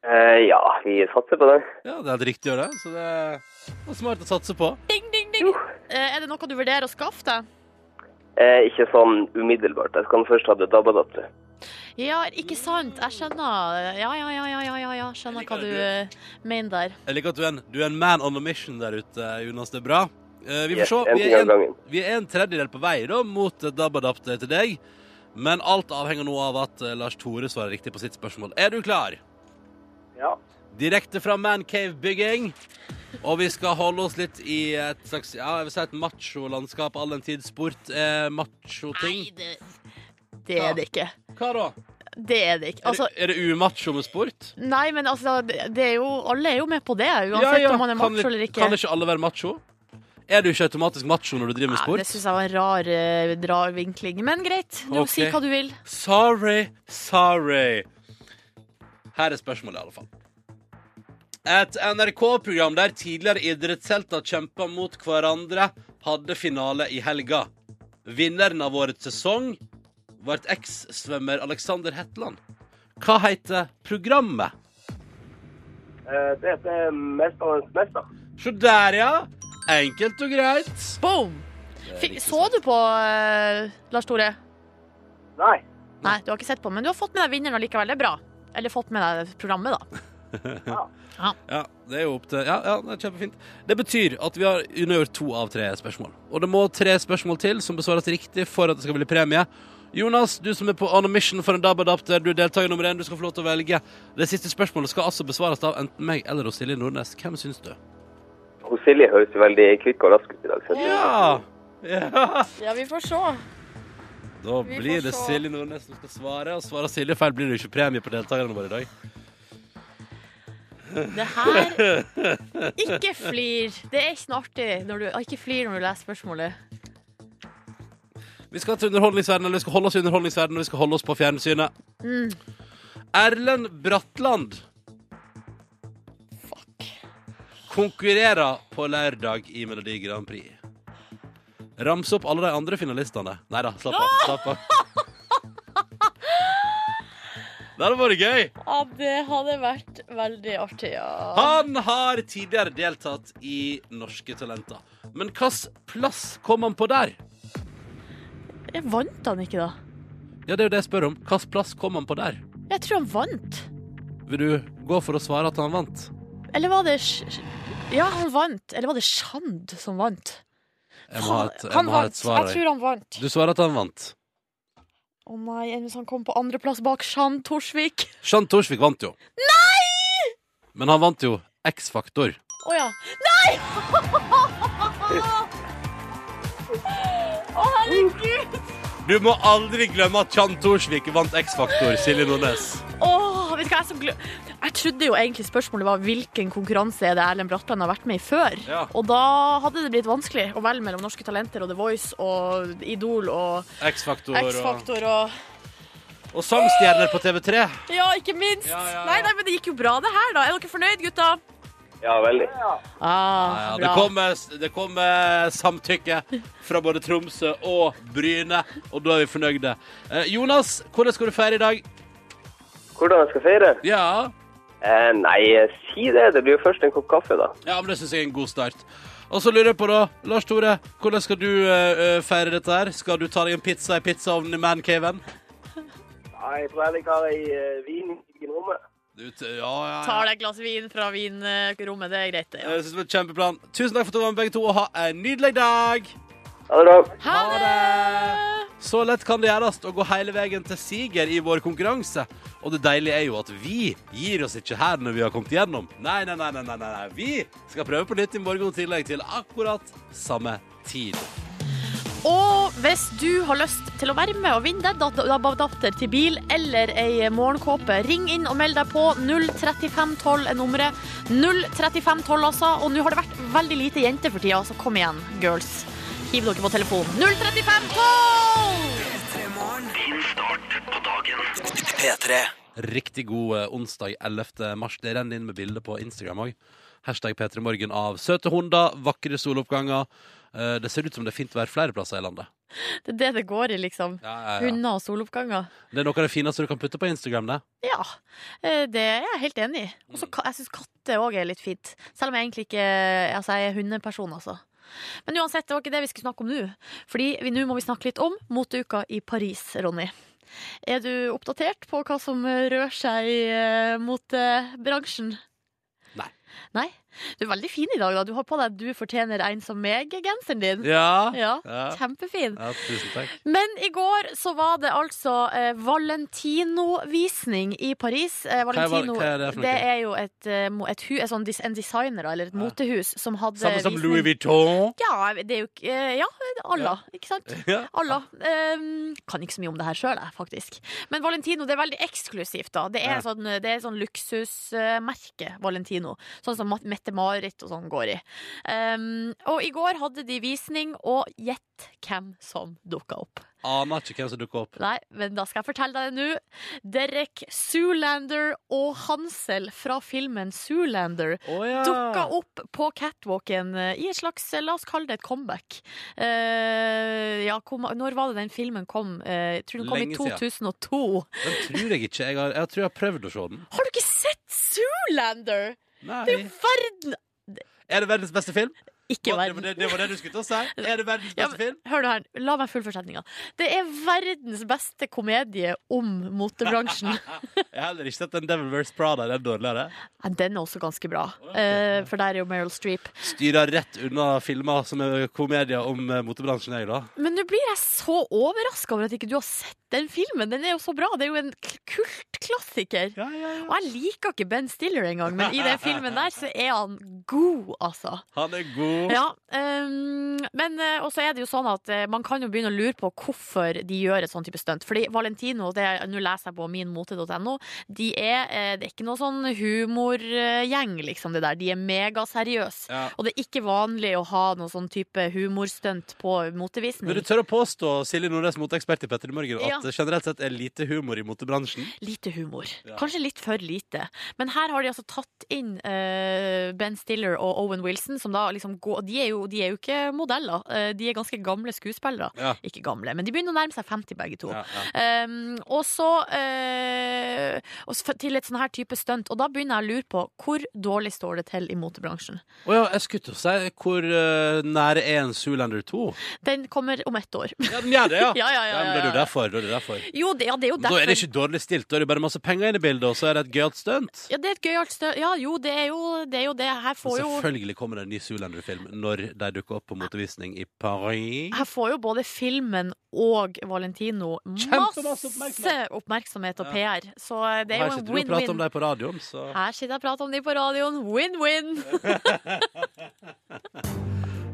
Speaker 4: Eh, ja, vi satser på det.
Speaker 2: Ja, det er helt riktig å gjøre, så det er smart å satse på.
Speaker 3: Ding, ding, ding. Eh, Er det noe du vurderer å skaffe deg?
Speaker 4: Eh, ikke sånn umiddelbart. Jeg skal først ha det dabbadattere.
Speaker 3: Ja, ikke sant? Jeg skjønner. Ja, ja, ja, ja, ja, ja, ja. skjønner hva du eh, mener der.
Speaker 2: Jeg liker at du er en, du er en man on a mission der ute, Jonas. Det er bra. Eh, vi får
Speaker 4: Yes,
Speaker 2: se.
Speaker 4: en
Speaker 2: Vi
Speaker 4: ting
Speaker 2: er
Speaker 4: av
Speaker 2: en,
Speaker 4: gangen.
Speaker 2: vi er en tredjedel på vei da, mot et DAB-adapter til deg. Men alt avhenger nå av at eh, Lars Tore svarer riktig på sitt spørsmål. Er du klar?
Speaker 4: Ja.
Speaker 2: Direkte fra Mancave-bygging. Og vi skal holde oss litt i et slags ja, jeg vil si et macho-landskap. All den tid sport er macho-ting.
Speaker 3: Nei, det, det er det ikke.
Speaker 2: Hva da?
Speaker 3: Det er det ikke.
Speaker 2: Er
Speaker 3: Altså,
Speaker 2: det, er det umacho med sport?
Speaker 3: nei, men altså, det det er jo Alle er jo med på det, uansett om man er
Speaker 2: kan,
Speaker 3: macho eller
Speaker 2: vi-
Speaker 3: ikke.
Speaker 2: kan ikke alle være macho? Er du ikke automatisk macho når du driver med
Speaker 3: Ja,
Speaker 2: sport?
Speaker 3: det syns jeg var en rar, eh, rar vinkling. Men greit, nå
Speaker 2: Ok.
Speaker 3: si hva du vil.
Speaker 2: Sorry, sorry. Her er spørsmålet, i alle fall. Et NRK-program der tidligere idrettshelter kjempa mot hverandre, hadde finale i helga. Vinneren av årets sesong ble eks-svømmer Alexander Hetland. Hva heter programmet?
Speaker 4: Eh, det heter Mesterens mester.
Speaker 2: Se der, ja. Enkelt og greit.
Speaker 3: Boom! Fikk, så du på eh, Lars Tore?
Speaker 4: Nei.
Speaker 3: Nei, du har ikke sett på, men du har fått med deg vinneren allikevel. Det er bra. Eller fått med deg programmet, da.
Speaker 2: Ja, det er jo opp til Ja, ja det er kjempefint. Det betyr at vi har unnagjort to av tre spørsmål. Og det må tre spørsmål til som besvares riktig for at det skal bli premie. Jonas, du som er på on a mission for en DAB-adapter, du er deltaker nummer én, du skal få lov til å velge. Det siste spørsmålet skal altså besvares av enten meg eller hos Silje Nordnes. Hvem syns du?
Speaker 4: Hun Silje høres jo veldig kvikk og rask ut i dag. synes jeg.
Speaker 2: Ja! ja.
Speaker 3: Ja, vi får se.
Speaker 2: Da
Speaker 3: Vi får
Speaker 2: blir det
Speaker 3: se.
Speaker 2: Silje Nordnes som skal svare, og svarer Silje feil, blir det jo ikke premie på deltakerne våre i dag.
Speaker 3: Det her Ikke flir. Det er ikke noe artig når du Ikke flir når du leser spørsmålet.
Speaker 2: Vi skal til underholdningsverdenen, eller vi skal holde oss i underholdningsverdenen, og vi skal holde oss på fjernsynet. Erlend Bratland konkurrerer på lørdag i Melodi Grand Prix. Rams opp alle de andre finalistene. Nei da, slapp av. Slapp av. Det hadde vært gøy!
Speaker 3: Ja, det hadde vært veldig artig, ja.
Speaker 2: Han har tidligere deltatt i Norske Talenter. Men hvilken plass kom han på der?
Speaker 3: Jeg vant han ikke, da?
Speaker 2: Ja, det er jo det jeg spør om. Hvilken plass kom han på der?
Speaker 3: Jeg tror han vant.
Speaker 2: Vil du gå for å svare at han vant?
Speaker 3: Eller var det Sh- Sh- Ja, han vant. Eller var det Shand som vant?
Speaker 2: Jeg må ha et, jeg
Speaker 6: Han
Speaker 2: må ha et
Speaker 6: vant.
Speaker 2: svar.
Speaker 6: Jeg
Speaker 2: Jeg.
Speaker 6: tror han vant.
Speaker 2: Du svarer at han vant.
Speaker 3: Å nei, enn hvis han kom på andreplass bak Jean Torsvik.
Speaker 2: Jean Thorsvik vant jo. Nei! Men han vant jo X-Faktor.
Speaker 3: Å ja. Nei! Å herregud!
Speaker 2: Du må aldri glemme at Jean Thorsvik vant X-Faktor, Silje Nordnes.
Speaker 3: Åh, vet du hva, jeg, er så glø- jeg trodde jo egentlig spørsmålet var hvilken konkurranse er det Erlend Bratland har vært med i før.
Speaker 2: Ja.
Speaker 3: Og da hadde det blitt vanskelig å velge mellom Norske Talenter og The Voice og Idol og
Speaker 2: X-Faktor og,
Speaker 3: X-Faktor og
Speaker 2: og sangstjerner på TV3.
Speaker 3: Ja, ikke minst!
Speaker 2: Ja, ja, ja.
Speaker 3: Nei, nei, men det gikk jo bra, det her, da. Er dere fornøyd, gutta?
Speaker 4: Ja, veldig.
Speaker 2: Ja,
Speaker 3: Ah,
Speaker 2: det
Speaker 3: bra.
Speaker 2: kommer, det kommer samtykke fra både Tromsø og Bryne, og da er vi fornøyde. Eh, Jonas, hvordan skal du feire i dag?
Speaker 4: Hvordan jeg skal feire?
Speaker 2: Ja,
Speaker 4: Eh, nei, si det. Det blir jo først en kopp kaffe, da.
Speaker 2: ja men det syns jeg er en god start. Og så lurer jeg på, da, Lars Tore, hvordan skal du eh, eh, feire dette her? Skal du ta deg en pizza i pizzaovnen i mancaven?
Speaker 4: Nei, jeg tror jeg har ei vin i rommet.
Speaker 2: Du t- Ja, ja, ja.
Speaker 3: Tar deg et glass vin fra vinrommet, det er greit, det. Ja.
Speaker 2: Jeg synes det var et kjempeplan. Tusen takk for at du var med begge to, og ha en nydelig dag!
Speaker 4: Ha det bra.
Speaker 3: Ha det!
Speaker 2: Så lett kan det gjøres å gå hele veien til siger i vår konkurranse. Og det deilige er jo at vi gir oss ikke her når vi har kommet gjennom. Nei, nei, nei, nei, nei, nei, nei. Vi skal prøve på nytt i morgen i tillegg til akkurat samme tid.
Speaker 3: Og hvis du har lyst til å være med og vinne deg dat- dat- adapter til bil eller ei morgenkåpe, ring inn og meld deg på. 03512 er nummeret. 03512, altså. Og nå har det vært veldig lite jenter for tida, så kom igjen, girls. Hiv dere på telefonen. 03512!
Speaker 1: P3.
Speaker 2: Riktig god eh, onsdag 11. mars. Det renner inn med bilder på Instagram òg. Hashtag P3morgen av søte hunder, vakre soloppganger. Eh, Det ser ut som det er fint vær flere plasser i landet.
Speaker 3: Det er det det går i, liksom. Hunder og soloppganger.
Speaker 2: Det er noe av det fineste du kan putte på Instagram. det.
Speaker 3: Ja, eh, det er jeg helt enig i. Og
Speaker 2: Mm.
Speaker 3: så ka- jeg syns katter òg er litt fint. Selv om jeg egentlig ikke altså, jeg er hundeperson, altså. Men uansett, det var ikke det vi skulle snakke om nå. Fordi vi- nå må vi snakke litt om moteuka i Paris, Ronny. Er du oppdatert på hva som rører seg i eh, motebransjen?
Speaker 2: Nei.
Speaker 3: Nei? Du er veldig fin i dag, da. Du har på deg 'Du fortjener en som meg'-genseren din.
Speaker 2: Ja.
Speaker 3: Ja,
Speaker 2: Ja.
Speaker 3: kjempefin.
Speaker 2: ja, tusen takk.
Speaker 3: Men i går så var det altså eh, Valentino-visning i Paris. Eh,
Speaker 2: er val-
Speaker 3: Valentino,
Speaker 2: hva er det for noe?
Speaker 3: er jo et, eh, mo- et hu, et sånn dis, en designer, da, eller et motehus, som hadde
Speaker 2: Samme som
Speaker 3: visning-
Speaker 2: Louis Vuitton.
Speaker 3: Ja, det er jo ikke- eh, Ja, Allah, ikke sant?
Speaker 2: Ja.
Speaker 3: Alla. Ehm, kan ikke så mye om det her sjøl, jeg, faktisk. Men Valentino det er veldig eksklusivt, da. Det er
Speaker 2: Ja.
Speaker 3: sånn, det er sånn luksusmerke, eh, Valentino. Sånn som Mette-Marit og sånn går i. Ehm, og i går hadde de visning, og gjett hvem som dukka opp.
Speaker 2: Aner ikke hvem som dukker opp.
Speaker 3: Nei, men da skal jeg fortelle deg det nå. Derek Zoolander og Hansel fra filmen Zoolander
Speaker 2: Oh, ja.
Speaker 3: dukka opp på catwalken eh, i et slags, eh, la oss kalle det et comeback. Eh, ja, kom, når var det den filmen kom? Eh, jeg tror den kom
Speaker 2: Lenge
Speaker 3: i 2002.
Speaker 2: Den tror jeg ikke. Jeg, har, jeg tror jeg har prøvd å se den.
Speaker 3: Har du ikke sett Zoolander?
Speaker 2: Nei.
Speaker 3: Verden!
Speaker 2: Er det verdens beste film?
Speaker 3: Ikke
Speaker 2: Å, det, var
Speaker 3: verden.
Speaker 2: det, det var det du skulle til å si? Er det verdens
Speaker 3: Ja,
Speaker 2: beste
Speaker 3: men,
Speaker 2: film?
Speaker 3: hør nå her, la meg fullføre setninga. Det er verdens beste komedie om motebransjen.
Speaker 2: Jeg har heller ikke sett den Devil Wears Prada. Den er dårligere.
Speaker 3: Ja, Den er også ganske bra, eh, for der er jo Meryl Streep.
Speaker 2: Styrer rett unna filmer som er komedier om eh, motebransjen, jeg, da.
Speaker 3: Men nå blir jeg så overraska over at ikke du har sett den filmen. Den er jo så bra. Det er jo en k- kultklassiker.
Speaker 2: Ja, ja, ja.
Speaker 3: Og jeg liker ikke Ben Stiller engang, men i den filmen der så er han god, altså.
Speaker 2: Han er god.
Speaker 3: Ja, ehm, men eh, også er det jo sånn at eh, man kan jo begynne å lure på hvorfor de gjør et sånn type stunt. Fordi Valentino, det er- nå leser jeg på minmote.no, de er, eh, det er ikke noe sånn humorgjeng, liksom, det der. De er megaseriøse.
Speaker 2: Ja.
Speaker 3: Og det er ikke vanlig å ha noe sånn type humorstunt på motevisning.
Speaker 2: Men du tør å påstå, Silje Nordnes, moteekspert i Petter i Morgen, at
Speaker 3: Ja.
Speaker 2: det generelt sett er lite humor i motebransjen?
Speaker 3: Lite humor.
Speaker 2: Ja.
Speaker 3: Kanskje litt for lite. Men her har de altså tatt inn eh, Ben Stiller og Owen Wilson, som da liksom går De er jo, de er jo ikke modeller, eh, de er ganske gamle skuespillere.
Speaker 2: Ja.
Speaker 3: Ikke gamle, men de begynner å nærme seg 50 begge to.
Speaker 2: Ja, ja.
Speaker 3: Um, og så eh, og s- til et sånn her type stunt. Og da begynner jeg å lure på hvor dårlig står det til i motebransjen.
Speaker 2: Å ja, jeg skulle til å si hvor eh, nære er en Zoolander 2?
Speaker 3: Den kommer om ett år.
Speaker 2: Ja, den gjør det, ja.
Speaker 3: Ja, ja, ja,
Speaker 2: men da er det
Speaker 3: ja, ja.
Speaker 2: jo derfor. Da er det derfor.
Speaker 3: Jo, det, ja, det er jo
Speaker 2: Da
Speaker 3: derfor.
Speaker 2: er det ikke dårlig stilt, da er det bare masse penger inn i bildet, og så er det et gøyalt stunt.
Speaker 3: Ja, det er et gøyalt stø- Ja, jo, det er jo det. Er jo det. Her
Speaker 2: Og
Speaker 3: får jo
Speaker 2: selvfølgelig kommer det en ny Zoolander-film når de dukker opp på motevisning i Paris.
Speaker 3: Her får jo både filmen og Valentino
Speaker 2: Kjempemasse
Speaker 3: masse
Speaker 2: oppmerksomhet.
Speaker 3: oppmerksomhet og
Speaker 2: Ja.
Speaker 3: PR. Så det
Speaker 2: Her
Speaker 3: er jo en
Speaker 2: sitter du og prater om
Speaker 3: win-win.
Speaker 2: dem på radioen, så
Speaker 3: Her sitter jeg og prater om de på radioen. Win-win!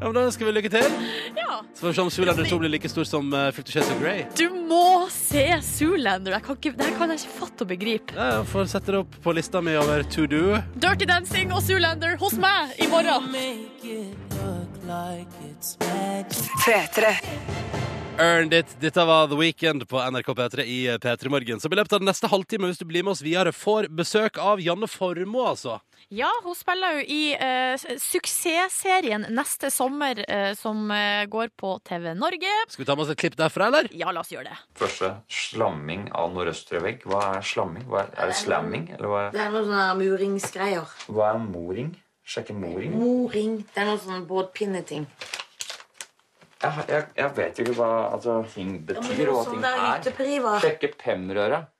Speaker 2: Ja, men Da ønsker vi lykke til.
Speaker 3: Ja.
Speaker 2: Så får vi se om Zoolander 2 blir like stor som eh, Fifty Shades of Grey.
Speaker 3: Du må se Zoolander! Jeg kan ikke, det her kan jeg ikke fatte og begripe.
Speaker 2: Ja, jeg får sette det opp på lista mi over to do.
Speaker 3: Dirty Dancing og Zoolander hos meg i morgen!
Speaker 2: Earned it. Dette var The Weekend på NRK P3 i P3 Morgen. Som i løpet av den neste halvtime, hvis du blir med oss videre, får besøk av Janne Formoe, altså.
Speaker 3: Ja, hun spiller jo i eh, s- suksessserien Neste sommer, eh, som eh, går på TV Norge.
Speaker 2: Skal vi ta med oss et klipp derfra, eller?
Speaker 3: Ja, la oss gjøre det.
Speaker 6: Første slamming av nordøstervegg. Hva er slamming? Hva er, er det slamming? Eller hva er,
Speaker 7: Det er noen sånne muringsgreier.
Speaker 6: hva er moring? Sjekke moring?
Speaker 7: Moring. Det er noen sånne båtpinneting.
Speaker 6: Jeg, jeg, jeg vet jo ikke hva altså, ting betyr, og hva ting er.
Speaker 7: Hyttepriver.
Speaker 6: Sjekke pemrøret.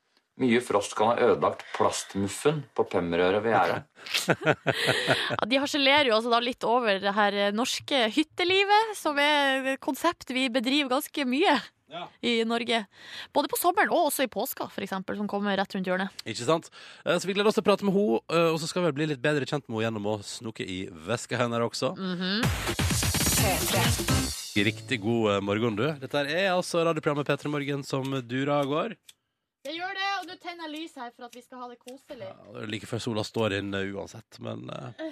Speaker 6: Mye frost kan ha ødelagt plastmuffen på pemrøret ved gjerdet.
Speaker 3: Ja, de harselerer jo altså da litt over det her eh, norske hyttelivet, som er et konsept vi bedriver ganske mye i Norge. Både på sommeren og også i påska, for eksempel, som kommer rett rundt hjørnet.
Speaker 2: Ikke sant? Eh, Så vi gleder oss til å prate med henne, eh, og så skal vi vel bli litt bedre kjent med henne gjennom å snoke i veska hennes også. Riktig god eh, morgen, du. Dette her er altså radioprogrammet P3 Morgen som durer og går.
Speaker 3: Jeg gjør det, og nå tenner jeg lys her for at vi skal ha det koselig.
Speaker 2: Ja, det er Like før sola står inn eh, uansett, men eh,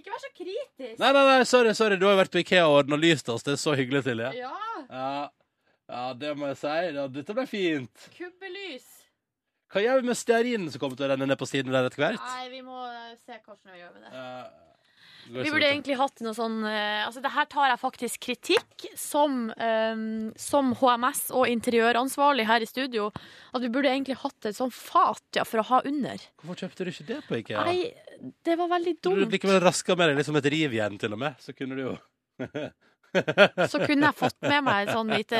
Speaker 3: Ikke vær så kritisk.
Speaker 2: Nei, nei, nei, sorry, sorry. Du har jo vært på Ikea og ordna lys til oss. Det er så hyggelig til deg.
Speaker 3: Ja,
Speaker 2: Ja. ja, det må jeg si. Ja, dette ble fint.
Speaker 3: kubbelys.
Speaker 2: Hva gjør vi med stearinen som kommer til å renne ned på siden der etter hvert?
Speaker 3: vi må se hvordan vi gjør med det.
Speaker 2: Eh, går
Speaker 3: Vi
Speaker 2: så
Speaker 3: burde
Speaker 2: ut.
Speaker 3: egentlig hatt noe sånn eh, Altså, det her tar jeg faktisk kritikk som, eh, som HMS og interiøransvarlig her i studio. At vi burde egentlig hatt et sånn fat ja, for å ha under.
Speaker 2: Hvorfor kjøpte du ikke det på Ikea?
Speaker 3: Nei, det var veldig
Speaker 2: Du
Speaker 3: dumt.
Speaker 2: blir ikke vel raska med deg liksom et rivjern, til og med. Så kunne du jo Mm.
Speaker 3: Så kunne jeg fått med meg et sånn lite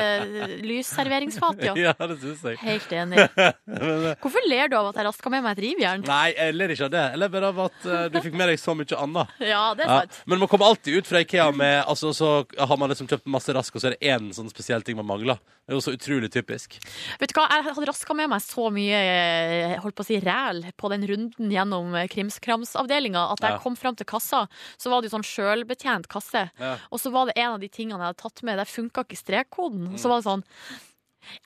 Speaker 3: lysserveringsfat, ja.
Speaker 2: Ja, det syns jeg.
Speaker 3: Helt enig.
Speaker 2: Men, eh,
Speaker 3: Hvorfor ler du av at jeg raskt kan med meg et rivjern?
Speaker 2: Nei, jeg ler ikke av det. Jeg ler bare av at eh, du fikk med deg så mye annet.
Speaker 3: Ja, det er
Speaker 2: Ja,
Speaker 3: sant.
Speaker 2: men man kommer alltid ut fra Ikea med altså, Så har man liksom kjøpt masse rask, og så er det én sånn spesiell ting man mangler. Det er jo så utrolig typisk.
Speaker 3: Vet du hva, jeg hadde raska med meg så mye eh, holdt på å si, ræl på den runden gjennom eh, krimskramsavdelinga at da
Speaker 2: Ja.
Speaker 3: jeg kom fram til kassa, så var det jo sånn sjølbetjent kasse.
Speaker 2: Ja.
Speaker 3: Og så var det en av de tingene jeg hadde tatt med, der funka ikke strekkoden.
Speaker 2: Mm.
Speaker 3: Så var det sånn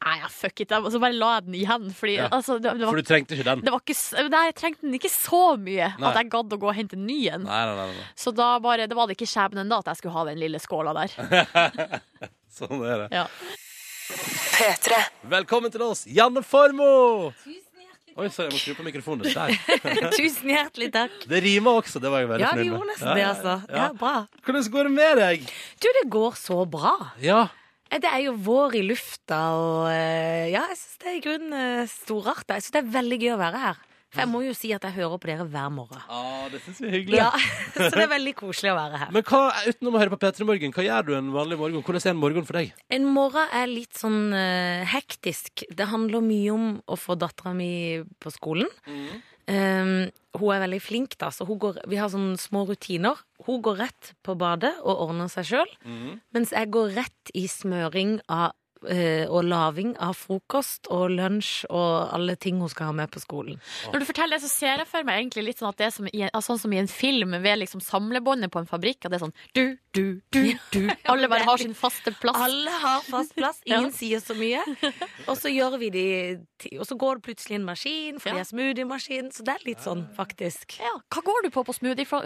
Speaker 3: Nei, ja, fuck it. Og så bare la jeg den igjen. Fordi
Speaker 2: Ja.
Speaker 3: altså, det, det,
Speaker 2: For
Speaker 3: var,
Speaker 2: du trengte ikke den.
Speaker 3: det var ikke s- Nei, jeg trengte den ikke så mye
Speaker 2: Nei.
Speaker 3: at jeg gadd å gå og hente en ny en.
Speaker 2: Nei, nei, nei, nei.
Speaker 3: Så da bare, det var det ikke skjebnen da at jeg skulle ha den lille skåla der.
Speaker 2: Sånn er det.
Speaker 3: Ja.
Speaker 2: Velkommen til oss, Janne Formoe! Oi, sorry, jeg må skru på mikrofonen. Der.
Speaker 8: Tusen hjertelig takk.
Speaker 2: Det rimer også. Det var jeg veldig
Speaker 8: Ja, det
Speaker 2: fornøyd med.
Speaker 8: gjorde nesten det, altså.
Speaker 2: Ja.
Speaker 8: Ja, bra.
Speaker 2: Hvordan går det med deg?
Speaker 8: Du, det går så bra. Eh,
Speaker 2: Ja,
Speaker 8: Det er jo vår i lufta, og eh, ja, jeg syns det er i grunnen eh, storartet. Jeg syns det er veldig gøy å være her. For jeg må jo si at jeg hører på dere hver morgen.
Speaker 2: ah, det syns vi er hyggelig.
Speaker 8: Ja, Så det er veldig koselig å være her.
Speaker 2: Men hva, utenom å høre på P3 Morgen, hva gjør du en vanlig morgen? Hvordan er en morgen for deg?
Speaker 8: En morgen er litt sånn eh, hektisk. Det handler mye om å få dattera mi på skolen. Eh, hun er veldig flink, da, så hun går, vi har sånne små rutiner. Hun går rett på badet og ordner seg sjøl, mens jeg går rett i smøring av eh, og laving av frokost og lunsj og alle ting hun skal ha med på skolen.
Speaker 3: Når du forteller det, så ser jeg for meg egentlig litt sånn at det er som i, altså sånn som i en film ved liksom samlebåndet på en fabrikk. At det er sånn du, du, du, du. Alle bare har sin faste plass.
Speaker 8: Alle har fast plass, ingen sier så mye. Og så gjør vi de ti- Og så går det plutselig en maskin, for
Speaker 3: Ja.
Speaker 8: det er smoothiemaskin. Så det er litt sånn, faktisk.
Speaker 3: Ja, hva går du på på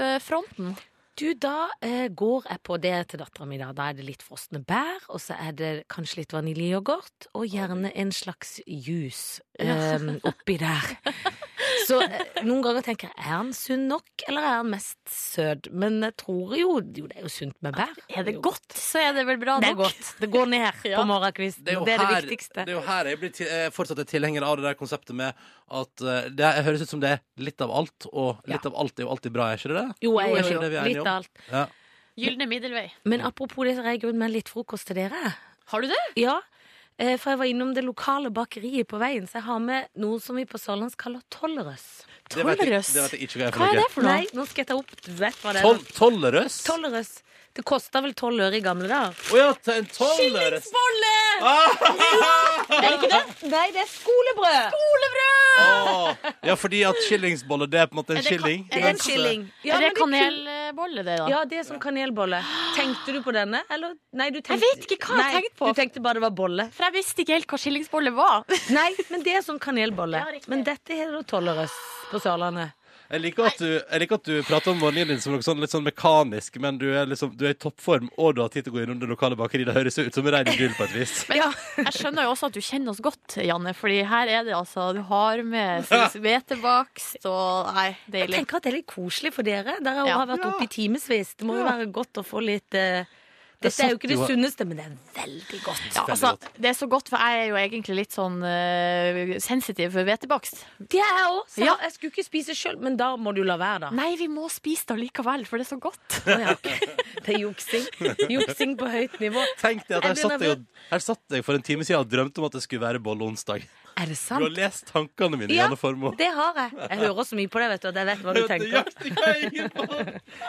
Speaker 3: smoothie-fronten?
Speaker 8: Du, da eh, går jeg på det til dattera mi. Da. da er det litt frosne bær, og så er det kanskje litt vaniljeyoghurt, og gjerne en slags juice eh, oppi der. Så eh, noen ganger tenker jeg er han sunn nok, eller er han mest søt? Men jeg tror jo Jo, det er jo sunt med bær.
Speaker 3: Er det godt, så er det vel bra
Speaker 8: Det er
Speaker 3: nok.
Speaker 8: godt. Det går ned på morgenkvisten. Det er det,
Speaker 2: her,
Speaker 8: viktigste.
Speaker 2: det er jo her jeg blir til, eh, fortsatt er tilhenger av det der konseptet med at eh, det er- høres ut som det er litt av alt, og litt av alt er jo alltid bra, er ikke det det?
Speaker 8: Jo, jeg,
Speaker 2: er
Speaker 8: jo,
Speaker 2: ikke det vi er
Speaker 8: jo.
Speaker 2: enige
Speaker 8: Litt
Speaker 2: om?
Speaker 8: av alt.
Speaker 2: Ja.
Speaker 3: Gylne middelvei.
Speaker 8: Men apropos det, så har jeg i grunnen med litt frokost til dere.
Speaker 3: Har du det?
Speaker 8: Ja. Eh, For jeg var innom det lokale bakeriet på veien, så jeg har med noe som vi på sørlandsk kaller tollerøs.
Speaker 2: Det vet jeg,
Speaker 3: Tollerøs.
Speaker 2: det vet jeg ikke hva er
Speaker 3: Hva
Speaker 2: for
Speaker 3: er
Speaker 2: noe.
Speaker 3: det for noe?
Speaker 8: Nei, nå skal jeg ta opp Vet hva det er.
Speaker 2: Tol tollerøs? Å
Speaker 8: Tollerøs. Det kosta vel tolv øre i gamle dager.
Speaker 2: ja, t- en tollerøs. Ah!
Speaker 8: Nei, det er skolebrød!
Speaker 2: Å, Ja, fordi at skillingsbolle, det er på en måte en
Speaker 3: Er det ka-
Speaker 2: skilling?
Speaker 8: Er det en
Speaker 2: mens, eh,
Speaker 8: skilling?
Speaker 3: Er det
Speaker 8: men kun-
Speaker 3: kanelbolle, det, da?
Speaker 8: Ja, det er som kanelbolle. Tenkte du på denne, eller? Nei, du tenkte...
Speaker 3: vet ikke hva jeg
Speaker 8: Nei,
Speaker 3: tenkte på.
Speaker 8: Du tenkte bare det var bolle.
Speaker 3: For jeg visste ikke helt hva skillingsbolle var.
Speaker 8: Nei, men det er sånn kanelbolle.
Speaker 3: Ja, riktig.
Speaker 8: men dette er da tollerøs på Sørlandet.
Speaker 2: Jeg liker, at du, jeg liker at du prater om vaniljen din som noe sånn litt sånn mekanisk, men du er, liksom, du er i toppform, og du har tid til å gå innom det lokale bakeriet. Det høres ut som en rein idyll på et vis.
Speaker 3: Men jeg skjønner jo også at du kjenner oss godt, Janne. Fordi her er det altså Du har med sis- hvetebakst og Nei,
Speaker 8: Jeg
Speaker 3: deilig.
Speaker 8: tenker at det er litt koselig for dere. Dere
Speaker 3: Ja.
Speaker 8: har vært oppe i timevis. Det må jo være godt å få litt eh, Dette er jo ikke det
Speaker 2: satt jo-
Speaker 8: sunneste, men det er veldig godt.
Speaker 3: Ja, altså, det er så godt, for jeg er jo egentlig litt sånn eh, sensitiv for hvetebakst.
Speaker 8: Det er jeg òg.
Speaker 3: Ja.
Speaker 8: Jeg skulle ikke spise sjøl, men da må du la være, da.
Speaker 3: Nei, vi må spise det allikevel, for det er så godt.
Speaker 8: Å, ja, ok. Det er juksing. Juksing på høyt nivå.
Speaker 2: Tenk deg at
Speaker 8: Jeg
Speaker 2: her
Speaker 8: blir
Speaker 2: satt jeg,
Speaker 8: nervøs.
Speaker 2: og- her satt jeg for en time siden og drømte om at det skulle være bolleonsdag.
Speaker 8: Er det
Speaker 2: Du har
Speaker 8: sant?
Speaker 2: lest tankene mine,
Speaker 8: Ja.
Speaker 2: Janne Formoe.
Speaker 8: Det har jeg. Jeg hører så mye på det, vet du, at jeg vet hva du tenker.
Speaker 2: Nøyaktig hva jeg gjør på.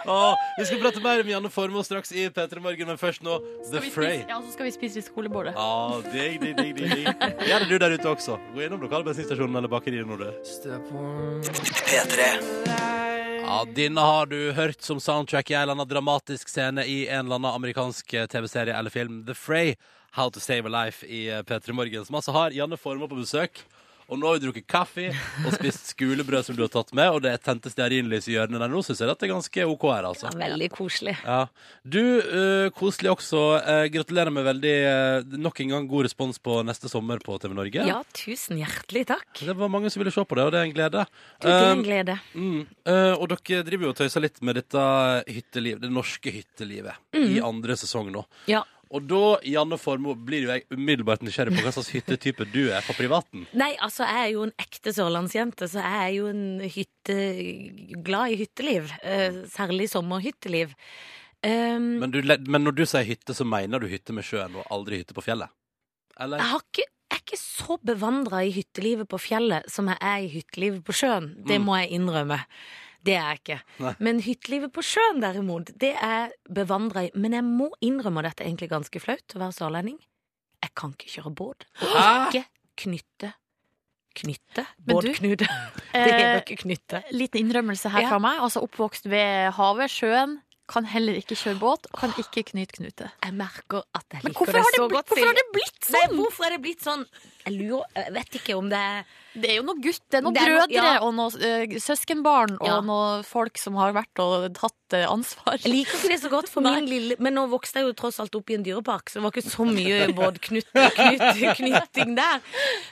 Speaker 2: Å, vi skal prate mer om Janne Formoe straks i P3 Morgen, men først nå The
Speaker 3: Skal vi
Speaker 2: Fray.
Speaker 3: spise- Ja, så skal vi spise litt skolebordet.
Speaker 2: Ja, digg, digg, digg, digg, digg. Gjør det du der ute også. Gå innom lokale bensinstasjonen eller bakeriet når du
Speaker 1: P3
Speaker 2: Ja, denne har du hørt som soundtrack i en eller annen dramatisk scene i en eller annen amerikansk eh, TV-serie eller film. The Fray, How to Save a Life i eh, P3 Morgen, som altså har Janne Formoe på besøk. Og nå har vi drukket kaffe og spist skulebrød som du har tatt med, og det er tente stearinlys i hjørnet der nå, syns jeg at det er ganske OK her, altså.
Speaker 8: Veldig koselig.
Speaker 2: Ja. Du, eh, koselig også. Eh, gratulerer med veldig eh, nok en gang god respons på neste sommer på TV Norge.
Speaker 8: Ja, tusen hjertelig takk.
Speaker 2: Det var mange som ville se på det, og det er en glede.
Speaker 8: Du, det er
Speaker 2: Um,
Speaker 8: en glede.
Speaker 2: Mm. eh, og dere driver jo og tøyser litt med dette hytteliv, det norske hyttelivet
Speaker 8: Mm.
Speaker 2: i andre sesong nå.
Speaker 8: Ja.
Speaker 2: Og da, Janne Formoe, blir jo jeg umiddelbart nysgjerrig på hva slags hyttetype du er på privaten.
Speaker 8: Nei, altså, jeg er jo en ekte sørlandsjente, så jeg er jo en hytte... glad i hytteliv. eh, Særlig sommerhytteliv. Um,
Speaker 2: Men, du, le- men når du sier hytte, så mener du hytte med sjøen og aldri hytte på fjellet? Eller?
Speaker 8: jeg, har ikke, jeg er ikke så bevandra i hyttelivet på fjellet som jeg er i hyttelivet på sjøen. Det må jeg innrømme. Det er jeg ikke.
Speaker 2: Mm. Nei.
Speaker 8: Men hyttelivet på sjøen, derimot, det er jeg bevandra i. Men jeg må innrømme, og dette er egentlig ganske flaut, å være sørlending. Jeg kan ikke kjøre båt. Og
Speaker 2: Hæ?
Speaker 8: ikke knytte. Knytte?
Speaker 3: Men du-
Speaker 8: Båtknute. Det heter
Speaker 3: Eh,
Speaker 8: ikke knytte.
Speaker 3: liten innrømmelse her
Speaker 8: Ja.
Speaker 3: fra meg. Altså Oppvokst ved havet, sjøen. Kan heller ikke kjøre båt, kan ikke knyte knute.
Speaker 8: Jeg merker at jeg
Speaker 3: Men
Speaker 8: liker
Speaker 3: hvorfor
Speaker 8: det
Speaker 3: har det,
Speaker 8: så
Speaker 3: bli-
Speaker 8: godt.
Speaker 3: hvorfor har
Speaker 8: Silje.
Speaker 3: det blitt
Speaker 8: Nei,
Speaker 3: sånn?
Speaker 8: hvorfor er det blitt sånn? Jeg lurer, jeg vet ikke om det er
Speaker 3: Det er jo noen gutt, det er noen
Speaker 8: Det er noe-
Speaker 3: brødre
Speaker 8: ja.
Speaker 3: og noen eh, søskenbarn og
Speaker 8: Ja.
Speaker 3: noen folk som har vært og tatt eh, ansvar.
Speaker 8: Jeg liker ikke det så godt, for min lille Men nå vokste jeg jo tross alt opp i en dyrepark, så det var ikke så mye båtknytting der.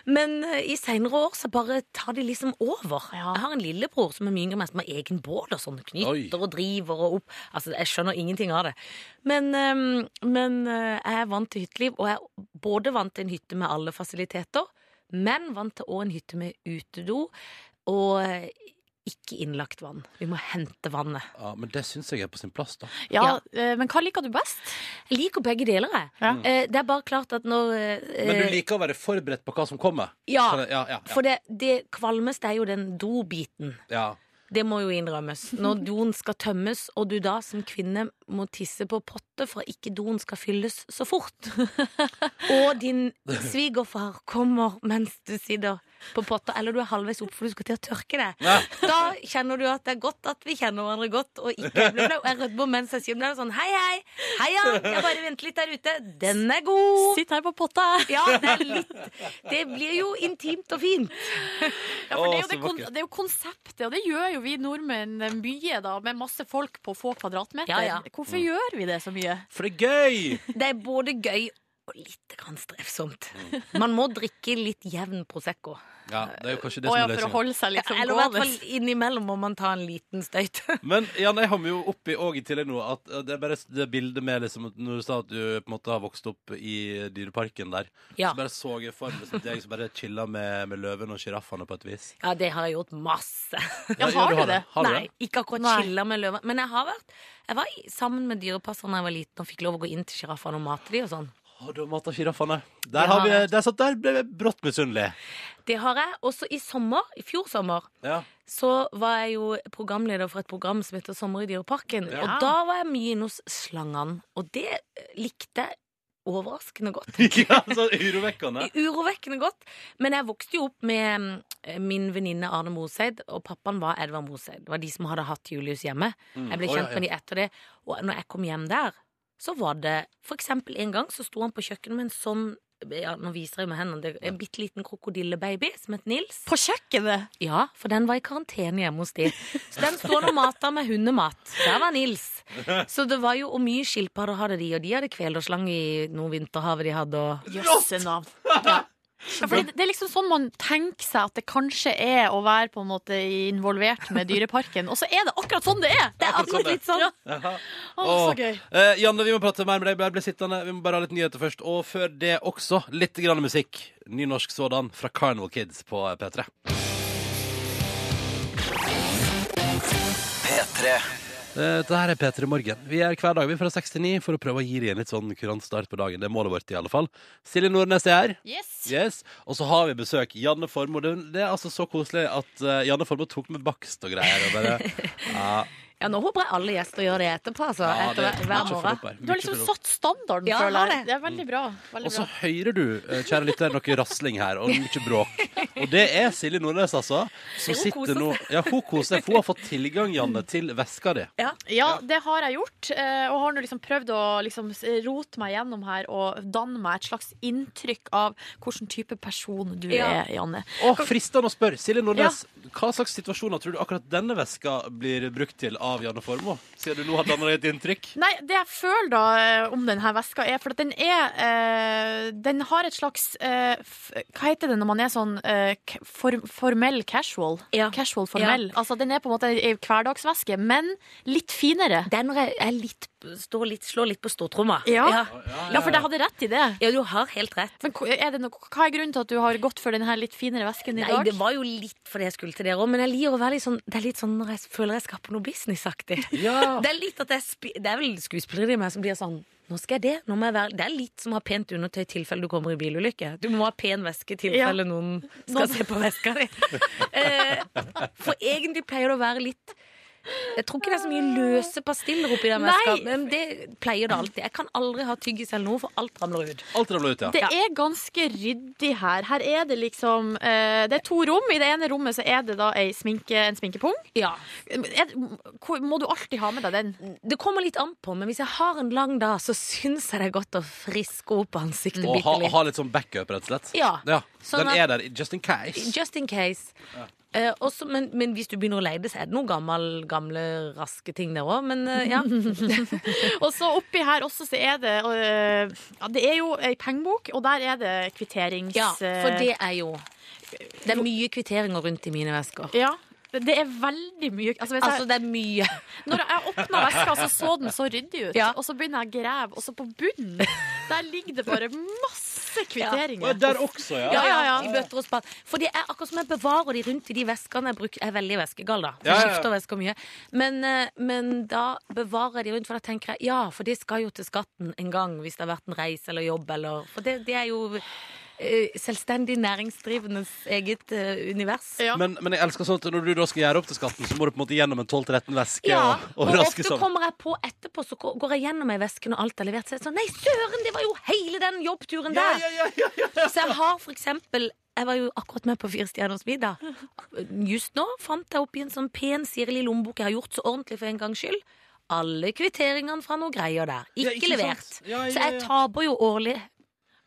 Speaker 8: Men eh, i seinere år så bare tar de liksom over. Jeg har en lillebror som er mye yngre enn meg, som har egen båt og sånn.
Speaker 2: Oi.
Speaker 8: Knyter og driver og opp. Altså, jeg skjønner ingenting av det. Men, eh, men eh, jeg er vant til hytteliv, og jeg er både vant til en hytte med alle fasiliteter, men vant til òg en hytte med utedo. Og eh, ikke innlagt vann. Vi må hente vannet.
Speaker 2: Ja, men det syns jeg er på sin plass, da.
Speaker 3: Ja, eh, Men hva liker du best?
Speaker 8: Jeg liker begge deler, jeg.
Speaker 3: Ja.
Speaker 8: Eh, det er bare klart at når eh,
Speaker 2: Men du liker å være forberedt på hva som kommer?
Speaker 8: Ja,
Speaker 2: Kan jeg- ja, ja, ja,
Speaker 8: for det, det kvalmeste er jo den dobiten.
Speaker 2: ja.
Speaker 8: Det må jo innrømmes. Når doen skal tømmes, og du da som kvinne må tisse på potte for at ikke doen skal fylles så fort, og din svigerfar kommer mens du sitter på potta, eller du er halvveis opp for du skal til å tørke deg,
Speaker 2: Ja.
Speaker 8: da kjenner du at det er godt at vi kjenner hverandre godt, og ikke jeg blir flau. Jeg rødmer mens jeg sier det, sånn hei, hei, heia, jeg bare venter litt der ute, den er god.
Speaker 3: Sitt her på potta!
Speaker 8: Ja, det er litt Det blir jo intimt og fint.
Speaker 3: Ja, for det, er jo
Speaker 2: Å,
Speaker 3: det,
Speaker 2: så
Speaker 3: kon
Speaker 2: vakkert.
Speaker 3: det er jo konseptet, og det gjør jo vi nordmenn en mye, da, med masse folk på få kvadratmeter.
Speaker 8: Ja, ja.
Speaker 3: Hvorfor
Speaker 2: Mm.
Speaker 3: gjør vi det så mye?
Speaker 2: For det er gøy!
Speaker 8: Det er både gøy og litt grann strevsomt. Man må drikke litt jevn Prosecco.
Speaker 2: Ja, det er jo kanskje det
Speaker 3: Å
Speaker 2: som
Speaker 3: ja,
Speaker 2: er
Speaker 3: for å
Speaker 2: løsningen.
Speaker 3: holde seg litt sånn
Speaker 8: Eller i hvert
Speaker 3: gående.
Speaker 8: fall innimellom må man ta en liten støyt.
Speaker 2: Men Jan, jeg har meg jo oppi og i tillegg nå at eh, det er bare det bildet med liksom, at Når du sa at du på en måte har vokst opp i dyreparken der,
Speaker 8: Ja.
Speaker 2: så bare så jeg for meg liksom, deg som bare chilla med, med løven og sjiraffene på et vis.
Speaker 8: Ja, det har jeg gjort masse.
Speaker 3: Ja, har du det?
Speaker 2: Har du
Speaker 8: Nei,
Speaker 2: det?
Speaker 8: ikke akkurat chilla med løver. Men jeg har vært Jeg var i- sammen med dyrepassere da jeg var liten og fikk lov å gå inn til sjiraffene og mate de og sånn.
Speaker 2: Har du mat av sjiraffene? Der, har vi- der satt der ble jeg brått misunnelig.
Speaker 8: Det har jeg. Også i sommer, i fjor sommer,
Speaker 2: Ja.
Speaker 8: så var jeg jo programleder for et program som heter Sommer i Dyreparken.
Speaker 2: Ja.
Speaker 8: Og da var jeg mye inne hos Slangan, og det eh, likte jeg overraskende godt.
Speaker 2: ja, så urovekkende.
Speaker 8: Urovekkende godt. Men jeg vokste jo opp med mm, min venninne Arne Moseid, og pappaen var Edvard Moseid. Det var de som hadde hatt Julius hjemme.
Speaker 2: Mm.
Speaker 8: Jeg ble
Speaker 2: Å, ja,
Speaker 8: kjent
Speaker 2: ja.
Speaker 8: med de etter det. Og når jeg kom hjem der, så var det For eksempel en gang så sto han på kjøkkenet med en sånn ja, Nå viser jeg med hendene. Det er En bitte liten krokodillebaby som het Nils.
Speaker 3: På kjøkkenet!
Speaker 8: Ja, for den var i karantene hjemme hos de. Så den står og mater med hundemat. Der var Nils. Så det var jo Og mye skilpadder hadde de, og de hadde kvelerslang i noe vinterhavet de hadde, og
Speaker 3: Jøsse navn. Ja. Ja, fordi det det er liksom sånn man tenker seg at det kanskje er å være på en måte involvert med Dyreparken, og så er det akkurat sånn det er! Det er
Speaker 2: akkurat
Speaker 3: akkurat litt sånn. Ja.
Speaker 2: Jaha.
Speaker 3: Å,
Speaker 2: Åh.
Speaker 3: så gøy.
Speaker 2: Eh, Janne, vi må prate mer med deg. Jeg ble sittende. Vi må bare ha litt nyheter først. Og før det også litt grann musikk. Ny norsk sådan fra Carnival Kids på P3.
Speaker 1: P3.
Speaker 2: Eh, Dette her er P3 Morgen. Vi er hver dag vi fra 6 til 9 for å prøve å gi deg en litt sånn kurant start på dagen. Det er målet vårt, i alle fall. Silje Nordnes er her.
Speaker 3: Yes.
Speaker 2: Yes. Og så har vi besøk. Janne Formoe. Det- Det er altså så koselig at eh, Janne Formoe tok med bakst og greier. Og bare, ja,
Speaker 8: Ja, nå håper jeg alle gjester gjør det etterpå, altså.
Speaker 2: ja,
Speaker 8: etter
Speaker 2: det er mye
Speaker 8: hver
Speaker 2: å følge opp
Speaker 8: morgen.
Speaker 2: her.
Speaker 3: Du har
Speaker 2: Mye å
Speaker 3: liksom
Speaker 2: følge opp.
Speaker 3: satt standarden,
Speaker 8: Ja, jeg har
Speaker 3: føler jeg.
Speaker 8: det.
Speaker 3: Det er veldig bra. Veldig
Speaker 2: Og så
Speaker 3: bra.
Speaker 2: hører du, eh, kjære lytter, noe rasling her, og mye bråk. Og det er Silje Nordnes, altså. Som
Speaker 8: Hun
Speaker 2: sitter
Speaker 8: koser
Speaker 2: nå Ja, hun koser seg. for Hun har fått tilgang, Janne, til veska di.
Speaker 3: Ja, det har jeg gjort. eh, Og har nå liksom prøvd å liksom s- rote meg gjennom her og danne meg et slags inntrykk av hvilken type person du
Speaker 8: Ja.
Speaker 3: er, Janne.
Speaker 2: Å, fristende å spørre. Silje Nordnes, hva slags situasjoner tror du akkurat denne veska blir brukt til av Janne Formoe? Siden du nå har dannet deg et inntrykk.
Speaker 3: Nei, det jeg føler da eh, om denne veska er For at den er eh, Den har et slags eh, f Hva heter det når man er sånn eh, k- for, formell casual?
Speaker 8: Ja.
Speaker 3: Casual formell. Altså, den er på en måte ei hverdagsveske, men litt finere.
Speaker 8: Det er når jeg, jeg litt, står litt, slår litt på stortromma.
Speaker 3: Ja.
Speaker 8: ja.
Speaker 3: Ja, for jeg hadde rett i det.
Speaker 8: Ja, du har helt rett.
Speaker 3: Men hva- er det noe, hva er grunnen til at du har gått for den her litt finere vesken i
Speaker 8: Nei,
Speaker 3: dag?
Speaker 8: det var jo litt fordi jeg skulle til dere òg, men jeg liker å være litt sånn Det er litt sånn når jeg føler jeg skal på noe businessaktig.
Speaker 2: Ja.
Speaker 8: Det er litt at jeg spi, Det er vel skuespillere i meg som blir sånn Nå skal jeg det. Nå må jeg være Det er litt som å ha pent undertøy i tilfelle du kommer i bilulykke. Du må ha pen veske i tilfelle noen skal se på veska di. Eh, For egentlig pleier det å være litt jeg tror ikke det er så mye løse pastiller oppi den
Speaker 3: Nei.
Speaker 8: veska, men det pleier det alltid. Jeg kan aldri ha tyggis eller noe, for alt ramler ut.
Speaker 2: Alt ramler ut, ja.
Speaker 3: Det er ganske ryddig her. Her er det liksom eh, Det er to rom. I det ene rommet så er det da ei sminke, en sminkepung.
Speaker 8: Ja,
Speaker 3: Er, hvor- må du alltid ha med deg den?
Speaker 8: Det kommer litt an på, men hvis jeg har en lang dag, så syns jeg det er godt å friske opp ansiktet
Speaker 2: Og
Speaker 8: bitte
Speaker 2: ha,
Speaker 8: litt.
Speaker 2: ha litt sånn backup, rett og slett.
Speaker 8: Ja, sånn
Speaker 2: Den
Speaker 8: at-
Speaker 2: er der just in case.
Speaker 8: Just in case. Eh, også, men, men hvis du begynner å leie det, så er det noen gammel, gamle, raske ting der òg. Men eh, ja.
Speaker 3: Og så oppi her også så er det eh, ja, Det er jo ei pengebok, og der er det kvitterings...
Speaker 8: ja.
Speaker 3: eh.
Speaker 8: For det er jo Det er mye kvitteringer rundt i mine vesker.
Speaker 3: ja. Det er veldig mye altså, hvis
Speaker 8: Altså,
Speaker 3: jeg,
Speaker 8: det er mye.
Speaker 3: Når jeg åpna veska, så så den så ryddig ut.
Speaker 8: Ja.
Speaker 3: Og så begynner jeg å grave, og så på bunnen Der ligger det bare masse
Speaker 2: Å, ja,
Speaker 3: kvitteringer.
Speaker 2: der også, ja.
Speaker 8: Ja, ja, ja.
Speaker 3: ja.
Speaker 8: I bøtter og spann. For det er akkurat som jeg bevarer de rundt i de veskene jeg bruker. Jeg er veldig veskegal, da.
Speaker 2: Ja,
Speaker 8: For
Speaker 2: ja,
Speaker 8: jeg
Speaker 2: ja.
Speaker 8: skifter vesker mye. Men, eh, men da bevarer jeg de rundt, for da tenker jeg ja, for det skal jo til skatten en gang hvis det har vært en reis eller jobb eller For det, det er jo eh, selvstendig næringsdrivendes eget eh, univers.
Speaker 3: Ja.
Speaker 2: Men, men jeg elsker sånn at når du da skal gjøre opp til skatten, så må du på en måte gjennom en 12-13 veske
Speaker 8: Ja,
Speaker 2: og, og raske
Speaker 8: og
Speaker 2: sånn.
Speaker 8: ofte
Speaker 2: sammen.
Speaker 8: kommer jeg på etterpå, så går går jeg gjennom ei veske når alt er levert. Så er det sånn Nei, søren, det var jo hele den jobbturen der! Så jeg har for eksempel jeg var jo akkurat med på Fire stjerners middag. Just nå fant jeg oppi en sånn pen sirlig lommebok jeg har gjort så ordentlig for en gangs skyld. Alle kvitteringene fra noe greier der.
Speaker 2: Ja,
Speaker 8: Ikke,
Speaker 2: ikke
Speaker 8: levert.
Speaker 2: sant? Ja, ja,
Speaker 8: Så jeg
Speaker 2: ja.
Speaker 8: taper jo årlig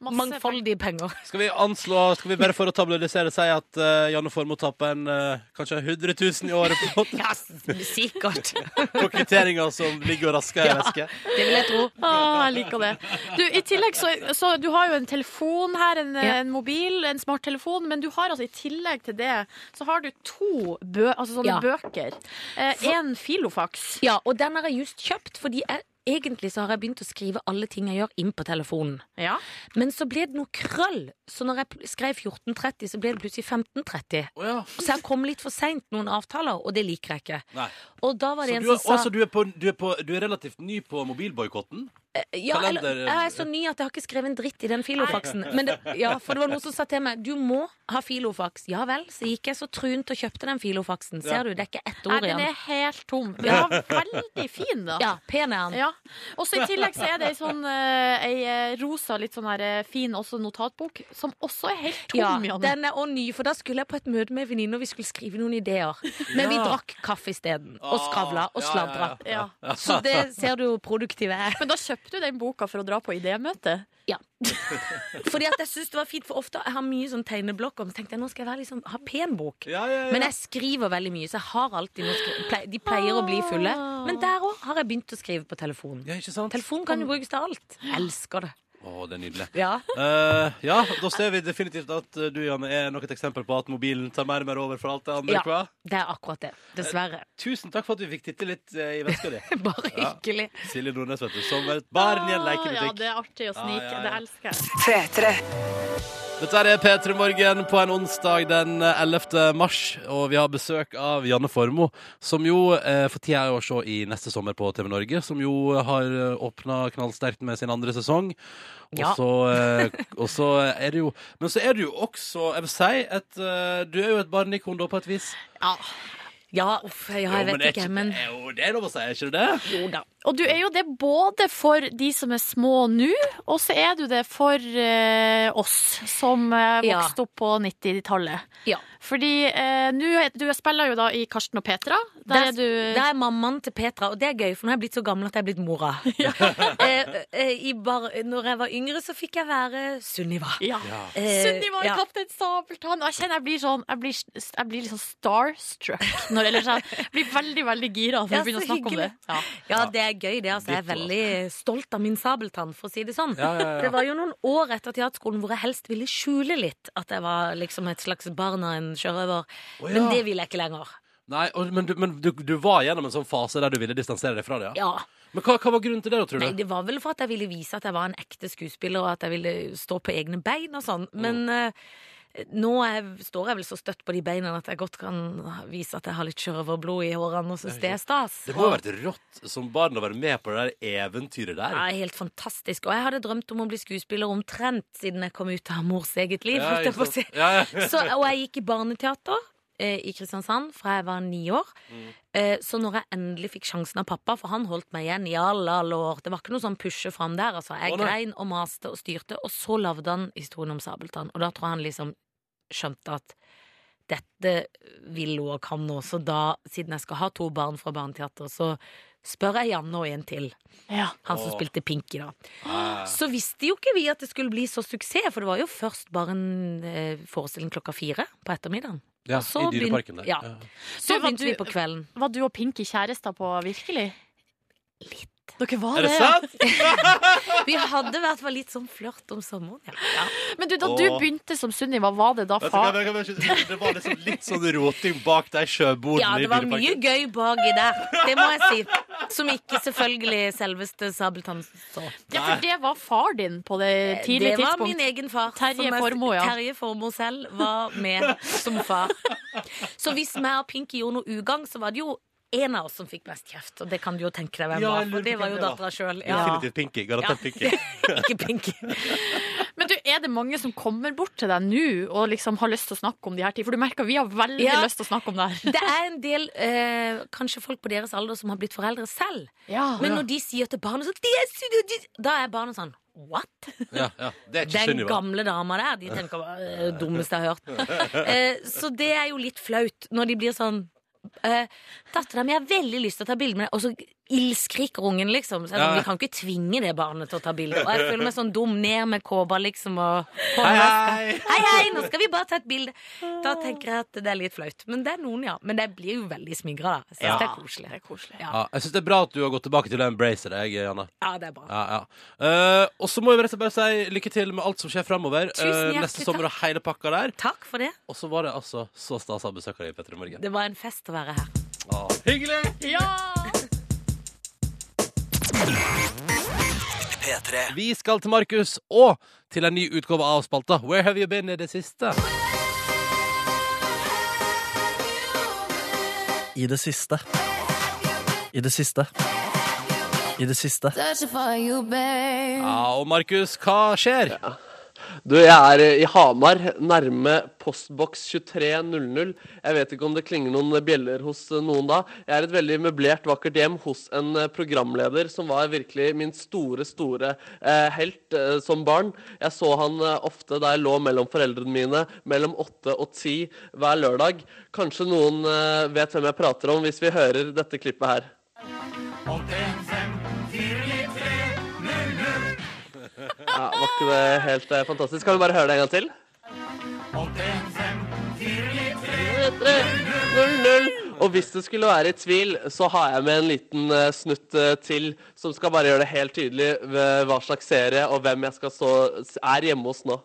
Speaker 3: Masse
Speaker 8: mangfoldige penger.
Speaker 2: Skal vi anslå, skal vi bare for å tabloidisere si at eh, Janne Formoe tapper en eh, kanskje 100 000 i året på,
Speaker 8: Ja, s- sikkert.
Speaker 2: på kvitteringer som ligger og rasker i veske?
Speaker 8: Det vil jeg tro.
Speaker 3: Ah, jeg liker det. Du, I tillegg så, så Du har jo en telefon her, en,
Speaker 8: Ja.
Speaker 3: en mobil, en smarttelefon, men du har altså i tillegg til det så har du to bø altså sånne
Speaker 8: Ja.
Speaker 3: bøker. Eh, en filofax.
Speaker 8: Ja, og den har jeg just kjøpt, fordi jeg, egentlig så har jeg begynt å skrive alle ting jeg gjør, inn på telefonen.
Speaker 3: Ja.
Speaker 8: Men så ble det noe krøll, så når jeg pl- skrev 14.30, så ble det plutselig 15.30.
Speaker 2: Å ja.
Speaker 8: Så jeg kom litt for seint noen avtaler, og det liker jeg ikke.
Speaker 2: Nei.
Speaker 8: Og da var
Speaker 2: Så
Speaker 8: det
Speaker 2: du,
Speaker 8: en
Speaker 2: er,
Speaker 8: som sa
Speaker 2: også, du, er på, du, er på, du er relativt ny på mobilboikotten?
Speaker 8: Ja, eller,
Speaker 2: Kalender-
Speaker 8: jeg er så ny at jeg har ikke skrevet en dritt i den filofaksen. Men det, ja, for det var noen som sa til meg du må ha filofaks. Ja vel, så gikk jeg så trunt og kjøpte den filofaksen.
Speaker 2: Ja.
Speaker 8: Ser du, det er ikke ett
Speaker 3: Nei,
Speaker 8: ord
Speaker 3: den
Speaker 8: igjen.
Speaker 3: er helt tom. Men den var veldig fin, da.
Speaker 8: Ja, pen er han.
Speaker 3: Ja. Og så i tillegg så er det ei sånn eh, ei eh, rosa, litt sånn her eh, fin også notatbok, som også er helt tom,
Speaker 8: Ja,
Speaker 3: Janne.
Speaker 8: den er også ny, for da skulle jeg på et møte med en venninne, og vi skulle skrive noen ideer. Men vi
Speaker 2: Ja.
Speaker 8: drakk kaffe isteden. Og skravla og
Speaker 2: Ja, ja,
Speaker 8: sladra.
Speaker 2: ja.
Speaker 3: Ja.
Speaker 8: Så det ser du hvor produktiv jeg er.
Speaker 3: Men da kjøpte du den boka for å dra på idémøte?
Speaker 8: Fordi at jeg synes det var fint, for ofte jeg har mye sånn tegneblokk, og så tenkte jeg nå skal jeg være liksom, ha pen bok.
Speaker 2: Ja, ja, ja.
Speaker 8: Men jeg skriver veldig mye, så jeg har alltid noe skri- ple- De pleier å bli fulle. Men der òg har jeg begynt å skrive på telefon.
Speaker 2: ja, ikke sant?
Speaker 8: Telefon kan jo brukes til alt. Jeg elsker det.
Speaker 2: Å, det er nydelig.
Speaker 8: Ja.
Speaker 2: Eh, ja, da ser vi definitivt at eh, du, Janne, er nok et eksempel på at mobilen tar mer og mer over for alt det andre.
Speaker 8: Ja.
Speaker 2: hva?
Speaker 8: Det er akkurat det. Dessverre.
Speaker 2: Tusen takk for at vi fikk titte litt eh, i veska di.
Speaker 8: Bare
Speaker 2: Ja.
Speaker 8: hyggelig.
Speaker 2: Silje Nordnes, vet du. Som et barn i en
Speaker 8: Ah,
Speaker 3: Ja,
Speaker 2: lekebutikk.
Speaker 3: det er artig å snike.
Speaker 2: Ja, ja, ja.
Speaker 3: Det elsker jeg.
Speaker 2: Dette er P3 Morgen på en onsdag den 11. mars, og vi har besøk av Janne Formoe, som jo eh, for tida er å se i neste sommer på TV Norge, som jo eh, har åpna knallsterkt med sin andre sesong. Og
Speaker 8: Ja.
Speaker 2: så, eh, og så er det jo Men så er du jo også, jeg vil si, et eh, Du er jo et barneikon da, på et vis.
Speaker 8: Ja, uff, ja, jeg
Speaker 2: jo,
Speaker 8: vet ikke, men
Speaker 2: det er ikke- Jo, det er lov å si, er ikke det det?
Speaker 8: jo da.
Speaker 3: Og du er jo det både for de som er små nå, og så er du det for eh, oss som eh,
Speaker 8: Ja.
Speaker 3: vokste opp på 90-tallet.
Speaker 8: Ja.
Speaker 3: Fordi eh, nå er- du spiller jo da i Karsten og Petra. Der, er du
Speaker 8: der er mammaen til Petra, og det er gøy, for nå er jeg blitt så gammel at jeg er blitt mora. eh, eh, i bar, når jeg var yngre, så fikk jeg være Sunniva.
Speaker 3: ja.
Speaker 8: Eh,
Speaker 3: Sunniva i
Speaker 8: ja.
Speaker 3: Kaptein Sabeltann. Og jeg kjenner jeg blir sånn Jeg blir, jeg blir litt sånn starstruck. Når, eller sånn, jeg blir veldig, veldig gira når vi
Speaker 8: Ja,
Speaker 3: begynner å
Speaker 8: så
Speaker 3: snakke om det.
Speaker 8: hyggelig.
Speaker 3: Ja.
Speaker 8: Ja, det er gøy, det. Altså. Jeg er
Speaker 2: Ditt år.
Speaker 8: veldig stolt av min sabeltann, for å si det sånn.
Speaker 2: Ja, ja, ja.
Speaker 8: Det var jo noen år etter teaterskolen hvor jeg helst ville skjule litt at jeg var liksom et slags barn av en sjørøver,
Speaker 2: Å, ja.
Speaker 8: men det vil jeg ikke lenger.
Speaker 2: Nei, og, men, du, men du, du var gjennom en sånn fase der du ville distansere deg fra det?
Speaker 8: Ja.
Speaker 2: Men hva, hva var grunnen til det, da, tror du?
Speaker 8: Nei, det var vel for at jeg ville vise at jeg var en ekte skuespiller, og at jeg ville stå på egne bein og sånn. Men eh, nå er, jeg- står jeg vel så støtt på de beina at jeg godt kan vise at jeg har litt sjørøverblod i hårene og synes det er stas.
Speaker 2: Det må ha vært rått som barn å være med på det der eventyret der.
Speaker 8: Ja, helt fantastisk. Og jeg hadde drømt om å bli skuespiller omtrent siden jeg kom ut av mors eget liv. holdt jeg på å si.
Speaker 2: Ja, ja.
Speaker 8: så, og jeg gikk i barneteater eh, i Kristiansand fra jeg var ni år.
Speaker 2: Mm.
Speaker 8: Eh, så når jeg endelig fikk sjansen av pappa, for han holdt meg igjen i alle, alle år Det var ikke noe sånn pushe fram der. Altså. Jeg
Speaker 2: Å, nei.
Speaker 8: grein og maste og styrte, og så lagde han historien om Sabeltann. Og da tror jeg han liksom skjønte at dette vil hun og kan nå, så da, siden jeg skal ha to barn fra barneteater, så spør jeg Janne og en til.
Speaker 3: Ja.
Speaker 8: Han som
Speaker 2: Åh.
Speaker 8: spilte Pinky, da.
Speaker 2: Ah.
Speaker 8: Så visste jo ikke vi at det skulle bli så suksess, for det var jo først bare en eh, forestilling klokka fire på ettermiddagen.
Speaker 2: Ja,
Speaker 8: så
Speaker 2: I dyreparken der.
Speaker 8: begyn- ja. Så
Speaker 3: Du, var
Speaker 8: begynte vi
Speaker 3: du-
Speaker 8: på kvelden.
Speaker 3: Var du og Pinky kjærester på virkelig?
Speaker 8: Litt.
Speaker 3: Dere var
Speaker 2: Er
Speaker 3: det,
Speaker 2: det
Speaker 3: ja.
Speaker 2: sant?
Speaker 8: Vi hadde i hvert fall litt sånn flørt om sommeren, ja.
Speaker 3: Men du, da
Speaker 2: Åh.
Speaker 3: du begynte som Sunniva, var det da
Speaker 2: Vet du hva,
Speaker 3: far
Speaker 2: jeg kan bare ikke- Det var liksom litt sånn roting bak de sjøbordene
Speaker 8: Ja, det var
Speaker 2: i
Speaker 8: mye
Speaker 2: dyreparken.
Speaker 8: gøy baki der, det må jeg si. Som ikke selvfølgelig selveste Sabeltann så.
Speaker 3: Ja, for det var far din på Eh, det e- tidlige
Speaker 8: det var min
Speaker 3: tidspunkt.
Speaker 8: egen far.
Speaker 3: Terje
Speaker 8: som jeg-
Speaker 3: Formoe, ja.
Speaker 8: Terje Formoe selv var med som far. Så hvis meg og Pinky gjorde noe ugagn, så var det jo en av oss som fikk mest kjeft. Og det kan du jo tenke deg hvem
Speaker 2: Ja,
Speaker 8: var,
Speaker 2: jeg
Speaker 8: for
Speaker 2: lurer
Speaker 8: det
Speaker 2: på
Speaker 8: var
Speaker 2: hvem
Speaker 8: jo
Speaker 2: det var.
Speaker 8: dattera sjøl.
Speaker 2: Definitivt Pinky. Garantert Pinky.
Speaker 8: Ikke Pinky.
Speaker 3: Men du, er det mange som kommer bort til deg nå og liksom har lyst til å snakke om de her ting? For du merker vi har veldig
Speaker 8: Ja.
Speaker 3: lyst til å snakke om det her.
Speaker 8: Det er en del eh, kanskje folk på deres alder som har blitt foreldre selv.
Speaker 3: Ja.
Speaker 8: Men når de sier til barna sånn de er sunne, de- Da er barna sånn What?
Speaker 2: Ja, ja. Det er ikke
Speaker 8: Den
Speaker 2: Sunniva.
Speaker 8: gamle dama der. De tenker bare «Det er det dummeste jeg har hørt. Eh, så det er jo litt flaut når de blir sånn Uh, Dattera mi har veldig lyst til å ta bilde med deg, og så ildskriker ungen, liksom. Så jeg er sånn,
Speaker 2: Ja.
Speaker 8: vi kan ikke tvinge det barnet til å ta bilde. Og jeg føler meg sånn dum, ned med kåpa, liksom, og
Speaker 2: Hei,
Speaker 8: håndvask.
Speaker 2: hei!
Speaker 8: Hei, hei, nå skal vi bare ta et bilde. Da tenker jeg at det er litt flaut. Men det er noen, ja. Men jeg blir jo veldig smigra, da. Jeg synes
Speaker 2: Ja.
Speaker 8: det er koselig.
Speaker 3: Det er koselig.
Speaker 8: Ja.
Speaker 2: Ja, jeg syns det er bra at du har gått tilbake til å embrace deg, Janne.
Speaker 8: Ja, det er bra.
Speaker 2: Ja, ja. Eh, og så må jeg rett og slett bare si lykke til med alt som skjer framover.
Speaker 8: Tusen hjertelig
Speaker 2: neste sommer og hele pakka der.
Speaker 8: Takk for det.
Speaker 2: Og så var det altså så stas å ha besøk av deg, Petter i morgen.
Speaker 8: Det var en fest å være her.
Speaker 2: Ah, hyggelig!
Speaker 1: P3.
Speaker 2: Vi skal til Markus og til en ny utgave av spalta Where have you been i det siste?
Speaker 9: I det siste. I det siste.
Speaker 5: i det siste.
Speaker 2: Ja, og Markus, hva skjer?
Speaker 5: Du, jeg er eh, i Hamar, nærme postboks 2300. Jeg vet ikke om det klinger noen bjeller hos eh, noen da. Jeg er i et veldig møblert, vakkert hjem hos en eh, programleder som var virkelig min store, store eh, helt eh, som barn. Jeg så han eh, ofte da jeg lå mellom foreldrene mine, mellom åtte og ti hver lørdag. Kanskje noen eh, vet hvem jeg prater om hvis vi hører dette klippet her. Ja, var ikke det helt eh, fantastisk? Kan vi bare høre det en gang til? 0-0. Og hvis du skulle være i tvil, så har jeg med en liten eh, snutt eh, til som skal bare gjøre det helt tydelig eh, hva slags serie og hvem jeg skal stå er hjemme hos nå.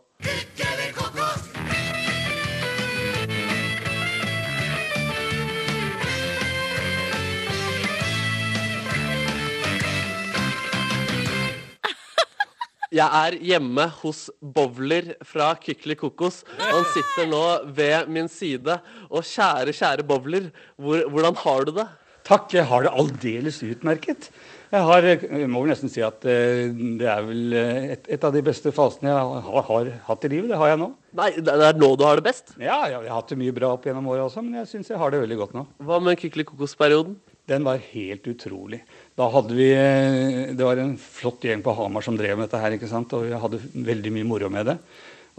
Speaker 5: Jeg er hjemme hos Bowler fra Kykeli Kokos. Og han sitter nå ved min side. Og kjære, kjære Bowler, hvor, hvordan har du det?
Speaker 9: Takk, jeg har det aldeles utmerket. Jeg, har, jeg må vel nesten si at eh, det er vel eh, et, et av de beste fasene jeg har, har hatt i livet. Det har jeg nå.
Speaker 5: Nei, det det er nå du har det best.
Speaker 9: Ja, jeg, jeg har hatt det mye bra opp gjennom åra også, men jeg syns jeg har det veldig godt nå.
Speaker 5: Hva med Kykeli Kokos-perioden?
Speaker 9: Den var helt utrolig. Da hadde vi eh, Det var en flott gjeng på Hamar som drev med dette her, ikke sant? og vi hadde veldig mye moro med det.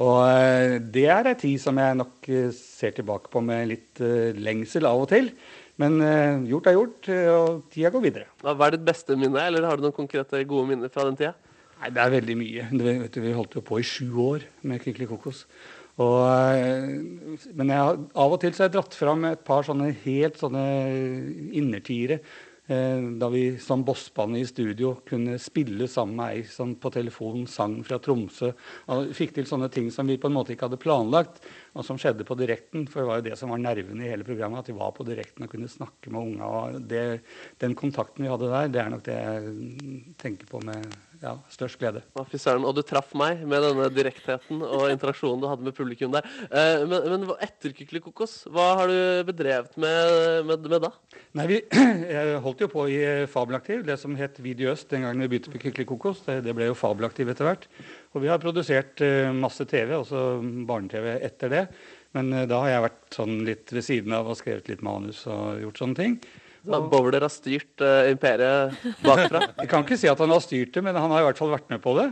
Speaker 9: Og eh, det er ei tid som jeg nok eh, ser tilbake på med litt eh, lengsel av og til. Men eh, gjort er gjort, eh, og tida går videre.
Speaker 5: Hva hva er ditt beste minne, eller har du noen konkrete gode minner fra den tida?
Speaker 9: Nei, det er veldig mye. Du vet, vi holdt jo på i sju år med Kykeli Kokos. Og, eh, men jeg, har- av og til så har jeg dratt fram et par sånne helt sånne innertiere. eh, Da vi som bossbane i studio kunne spille sammen med ei som på telefon sang fra Tromsø. Og fikk til sånne ting som vi på en måte ikke hadde planlagt, og som skjedde på direkten. For det var jo det som var nerven i hele programmet, at vi var på direkten og kunne snakke med unga. Og det, den kontakten vi hadde der, det er nok det jeg mm, tenker på med ja, størst glede.
Speaker 5: Å, Fy søren. Og du traff meg med denne direktheten og interaksjonen du hadde med publikum der. Eh, Men, men hva- etter Kykeli Kokos, hva har du bedrevet med, med, med da?
Speaker 9: Nei, vi jeg holdt jo på i eh, Fabelaktiv, det som het Video Øst den gangen vi begynte med Kykeli Kokos. Det, det ble jo Fabelaktiv etter hvert. Og vi har produsert eh, masse TV, også barne-TV etter det. Men eh, da har jeg vært sånn litt ved siden av og skrevet litt manus og gjort sånne ting.
Speaker 5: Da Bowler har styrt eh, imperiet bakfra.
Speaker 9: Jeg kan ikke si at han har styrt det, men han har i hvert fall vært med på det.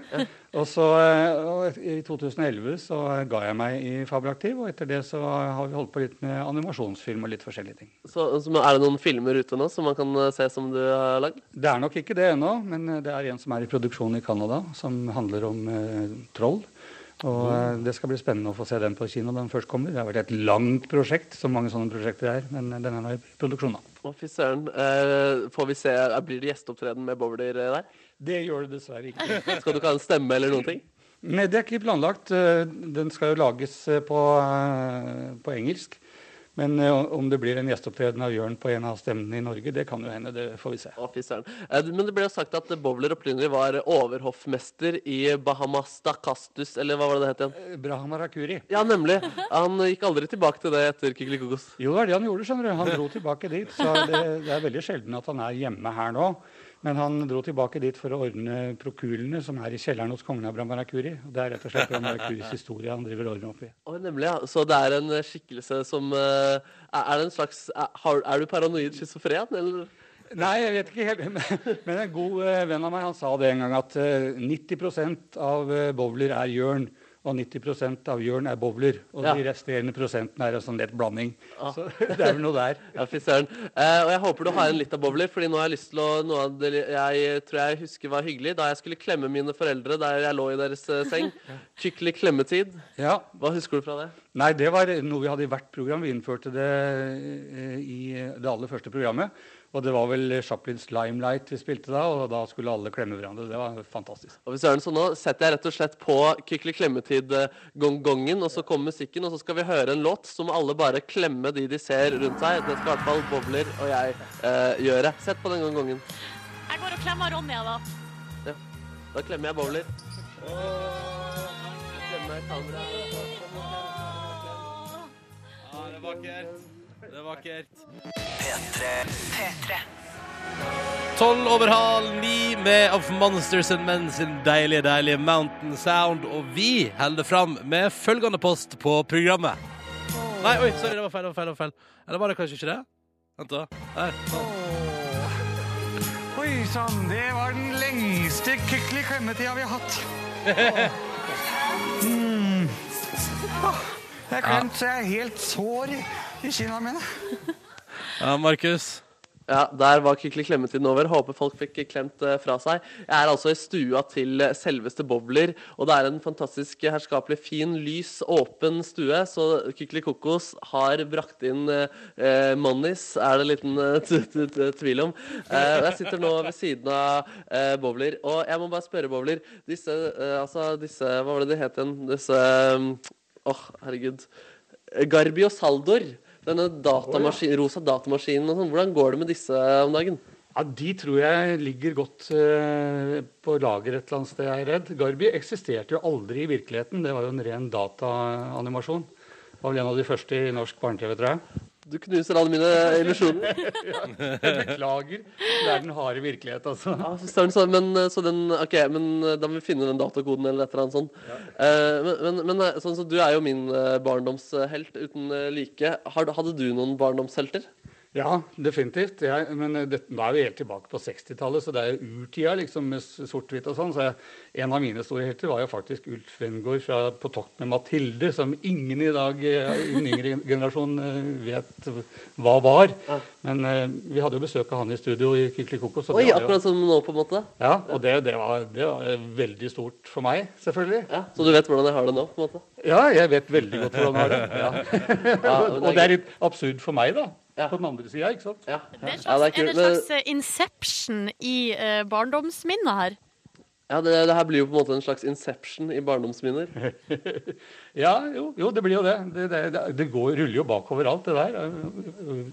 Speaker 9: Og så eh, og I 2011 så ga jeg meg i Fabelaktiv, og etter det så har vi holdt på litt med animasjonsfilm og litt forskjellige ting.
Speaker 5: Så, så er det noen filmer ute nå som man kan eh, se som du har lagd?
Speaker 9: Det er nok ikke det ennå, men eh, det er en som er i produksjon i Canada, som handler om eh, troll. Og eh, Det skal bli spennende å få se den på kino når den først kommer. Det har vært et langt prosjekt, som mange sånne prosjekter er, men eh, den er nå i produksjon, da.
Speaker 5: Å, fy søren. Eh, Får vi se, eh, blir det gjesteopptreden med Bowler eh, der?
Speaker 9: Det gjør det dessverre ikke.
Speaker 5: Skal du ikke ha en stemme eller noen ting?
Speaker 9: Nei, det er ikke planlagt. Eh, Den skal jo lages eh, på, eh, på engelsk. Men eh, om det blir en gjesteopptreden av Jørn på en av stemmene i Norge, det kan jo hende. Det får vi se.
Speaker 5: Å, fy søren. Eh, Men det ble jo sagt at eh, Bowler opprinnelig var overhoffmester i Bahamastakastus, eller hva var det det het igjen?
Speaker 9: Eh, Braham Arakuri.
Speaker 5: Ja, nemlig. Han gikk aldri tilbake til det etter Kykeli Kokos.
Speaker 9: Jo, det er det han gjorde, skjønner du. Han dro tilbake dit. Så det, det er veldig sjelden at han er hjemme her nå. Men han dro tilbake dit for å ordne prokulene som er i kjelleren hos kongen av Brahmarakuri. Og Det er rett og slett Brahmarakuris historie han driver og ordner opp i.
Speaker 5: Å, nemlig, ja. Så det er en eh, skikkelse som eh, Er er det en slags Er, har- er du paranoid schizofren, eller?
Speaker 9: Nei, jeg vet ikke helt. men- Men en god eh, venn av meg han sa det en gang at eh, 90 av eh, bowler er Jørn. Og 90 av Jørn er bowler. Og
Speaker 5: Ja.
Speaker 9: de resterende prosenten er en sånn lett blanding. Så det er vel noe der.
Speaker 5: Ja, fy søren. Eh, og jeg håper du har igjen litt av bowler, Fordi nå har jeg lyst til å Noe av det jeg tror jeg husker var hyggelig, da jeg skulle klemme mine foreldre der jeg lå i deres eh, seng. Skikkelig klemmetid.
Speaker 9: Ja,
Speaker 5: Hva husker du fra det?
Speaker 9: Nei, det var noe vi hadde i hvert program. Vi innførte det eh, i det aller første programmet. Og det var vel Chaplins Limelight vi spilte da, og da skulle alle klemme hverandre. Det var fantastisk.
Speaker 5: Og fy søren, Så sånn nå setter jeg rett og slett på Kykeli Klemmetid-gongongen, og så kommer musikken, og så skal vi høre en låt, så må alle bare klemme de de ser rundt seg. Det skal i hvert fall Bowler og jeg eh, gjøre. Sett på den gongongen.
Speaker 3: Jeg går og klemmer Ronny, jeg, da.
Speaker 5: Da klemmer jeg bowler. Klemmer jeg kameraet.
Speaker 2: Ja, det er vakkert. Det er vakkert.
Speaker 1: P3.
Speaker 2: Tolv over halv ni med Of Monsters and Men sin deilige, deilige Mountain Sound. Og vi holder fram med følgende post på programmet. Nei, oi, sorry, det var feil. det var feil, det var feil. Eller var det kanskje ikke det? Vent, da. Der. sånn.
Speaker 10: Oi sann, det var den lengste kykelig klemmetida vi har hatt. Mm. Åh, Jeg er klemt så jeg er helt sår i- i kinna mine.
Speaker 2: Ja, Markus.
Speaker 5: Ja, Der var Kykli klemmetiden over. Håper folk fikk klemt eh, fra seg. Jeg er altså i stua til eh, selveste Bowler, og det er en fantastisk eh, herskapelig fin, lys, åpen stue. Så Kykli Kokos har brakt inn eh, eh, Monnis, er det en liten eh, t- t- t- tvil om. Eh, og jeg sitter nå ved siden av eh, Bowler, og jeg må bare spørre Bowler Disse, eh, altså disse Hva var det de het igjen? Disse mm, Åh, herregud. Garbi og Saldor. Denne datamaskin, rosa datamaskinen og sånn. Hvordan går det med disse om dagen?
Speaker 9: Ja, De tror jeg ligger godt eh, på lager et eller annet sted, jeg er redd. Garbi eksisterte jo aldri i virkeligheten. Det var jo en ren dataanimasjon. Det var vel en av de første i norsk barne-TV, tror jeg.
Speaker 5: Du knuser alle mine illusjoner.
Speaker 9: Jeg beklager. Det er den harde virkelighet, altså.
Speaker 5: Ja, fy søren, så- men, eh, så den, ok, men eh, da må vi finne den datakoden eller et eller annet sånt. Eh, men men, men eh, sånn, så du er jo min eh, barndomshelt uten eh, like. Har, du- hadde du noen barndomshelter?
Speaker 9: Ja, definitivt. Jeg, men eh, det, nå er vi helt tilbake på 60-tallet, så det er jo urtida liksom, med s- sort-hvitt og sånn. Så jeg, en av mine store helter var jo faktisk Ulf Wengård fra På tokt med Mathilde, som ingen i dag eh, i den yngre gen- generasjon eh, vet hva var. Men eh, vi hadde jo besøk av han i studio i Kykelikoko, så
Speaker 5: Oi,
Speaker 9: det var jo
Speaker 5: akkurat som nå, på en måte.
Speaker 9: ja, og det, det, var, det var eh, veldig stort for meg, selvfølgelig.
Speaker 5: Ja, så du vet hvordan jeg har det nå? på en måte.
Speaker 9: Ja, jeg vet veldig godt hvordan det var. det. Ja.
Speaker 5: Ja, men det er
Speaker 9: og det er litt absurd for meg, da.
Speaker 5: Ja.
Speaker 9: På den andre sida, ikke sant.
Speaker 5: Ja,
Speaker 3: Det er, en
Speaker 5: Ja,
Speaker 3: slags,
Speaker 5: det er
Speaker 3: er det
Speaker 5: kult,
Speaker 3: en slags eh, inception i eh, barndomsminnet her?
Speaker 5: ja det, det her blir jo på en måte en slags inception i barndomsminner.
Speaker 9: Ja, jo, jo, det blir jo det. Det, det, det- det går, ruller jo bakover alt, det der.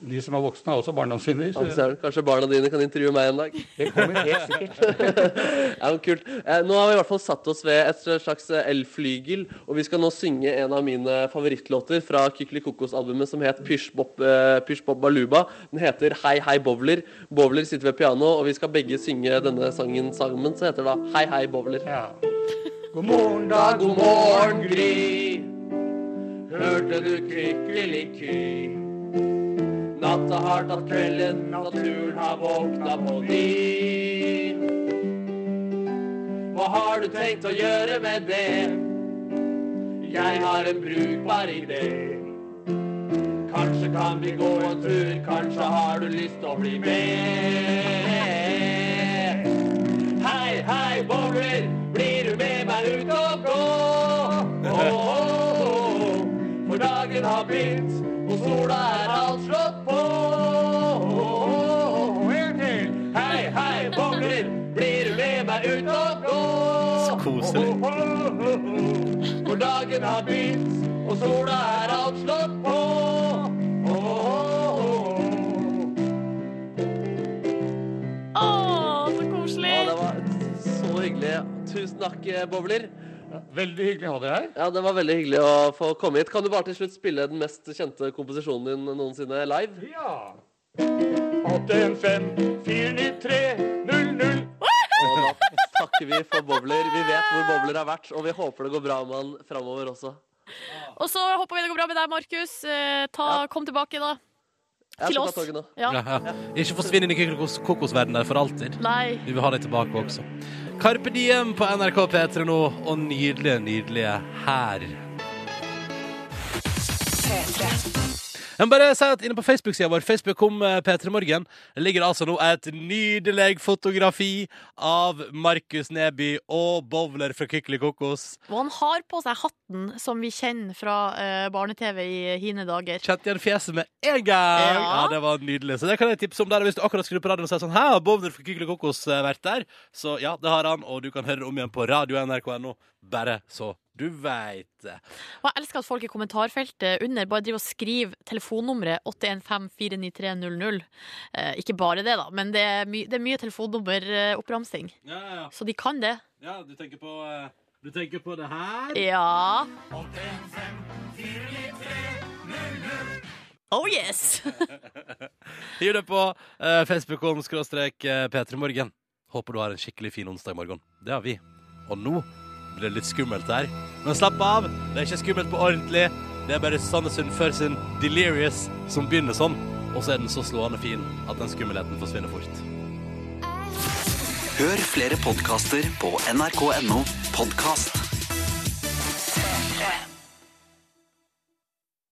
Speaker 9: De som er voksne, har også barndomssynder.
Speaker 5: Ja, fy
Speaker 9: så
Speaker 5: søren, Kanskje barna dine kan intervjue meg en dag?
Speaker 9: Det kommer helt sikkert.
Speaker 5: Ja, men kult. Eh, nå har vi i hvert fall satt oss ved et slags eh, elflygel, og vi skal nå synge en av mine favorittlåter fra Kykelikokos-albumet som het Pysj Bob eh, Pysj Bob Baluba. Den heter Hei Hei Bowler. Bowler sitter ved piano, og vi skal begge synge denne sangen sammen, så heter det da Hei Hei Bowler.
Speaker 9: Ja. God morgen, da. God morgen, Gry.
Speaker 5: Hørte du kykeliky? Natta har tatt kvelden, naturen har våkna på ny. Hva har du tenkt å gjøre med det? Jeg har en brukbar idé. Kanskje kan vi gå en tur, kanskje har du lyst å bli med. Hei, hei, bowler, blir du med meg ut og gå? Åh, åh, åh. For dagen har begynt, og sola er alt slått på. En til. Hei, hei, bowler, blir du med meg ut og gå?
Speaker 2: Så koselig.
Speaker 5: Åh, åh, åh. For dagen har begynt, og sola er alt slått på. Åh, åh, åh.
Speaker 3: Å, så koselig!
Speaker 5: Ja, det var så hyggelig. Tusen takk, eh, Bowler.
Speaker 9: Veldig hyggelig å ha deg her.
Speaker 5: Ja, Det var veldig hyggelig å få komme hit. Kan du bare til slutt spille den mest kjente komposisjonen din noensinne live?
Speaker 9: Ja. 815 493 00.
Speaker 5: Og da takker vi for Bowler. Vi vet hvor Bowler har vært, og vi håper det går bra med han framover også.
Speaker 3: Og så håper vi det går bra med deg, Markus. Eh, ta, Kom tilbake, da.
Speaker 5: Jeg
Speaker 3: Til
Speaker 5: skal ta
Speaker 3: oss.
Speaker 5: toget nå.
Speaker 3: Ja.
Speaker 2: Ja, ja. Ikke forsvinn inn i kokos- kokosverdenen der for alltid.
Speaker 3: Nei.
Speaker 2: Vi vil ha deg tilbake også. Carpe Diem på NRK P3 nå, og nydelige, nydelige her. Jeg må bare si at Inne på Facebook-sida vår Facebook kom eh, P3 Morgen. Det ligger altså nå et nydelig fotografi av Markus Neby og Bowler fra Kykeli Kokos.
Speaker 3: Og han har på seg hatten som vi kjenner fra eh, barne-TV i hine dager.
Speaker 2: Kjente igjen fjeset med en gang! Ja.
Speaker 3: Ja.
Speaker 2: det var nydelig. Så det kan jeg tipse om der. Hvis du akkurat skrur på radioen og sier sånn Hæ, har Bowler fra Kykeli Kokos eh, vært der? Så ja, det har han, og du kan høre om igjen på radio nrk.no. Bare så du veit det.
Speaker 3: Og jeg elsker at folk i kommentarfeltet under bare driver og skriver telefonnummeret 815-49300. Eh, ikke bare det, da, men det er, my det er mye telefonnummeroppramsing.
Speaker 2: Ja, ja, ja.
Speaker 3: Så de kan det.
Speaker 2: Ja, du tenker på eh, Du tenker på det her?
Speaker 3: Ja. Oh yes!
Speaker 2: Hiv det på eh, Facebook-om skråstrek P3morgen. Håper du har en skikkelig fin onsdag i morgen. Det har vi. Og nå blir det litt skummelt her. Men slapp av, det er ikke skummelt på ordentlig. Det er bare Sanne Sundfør sin Delirious som begynner sånn. Og så er den så slående fin at den skummelheten forsvinner fort.
Speaker 4: Hør flere podkaster på nrk.no podkast.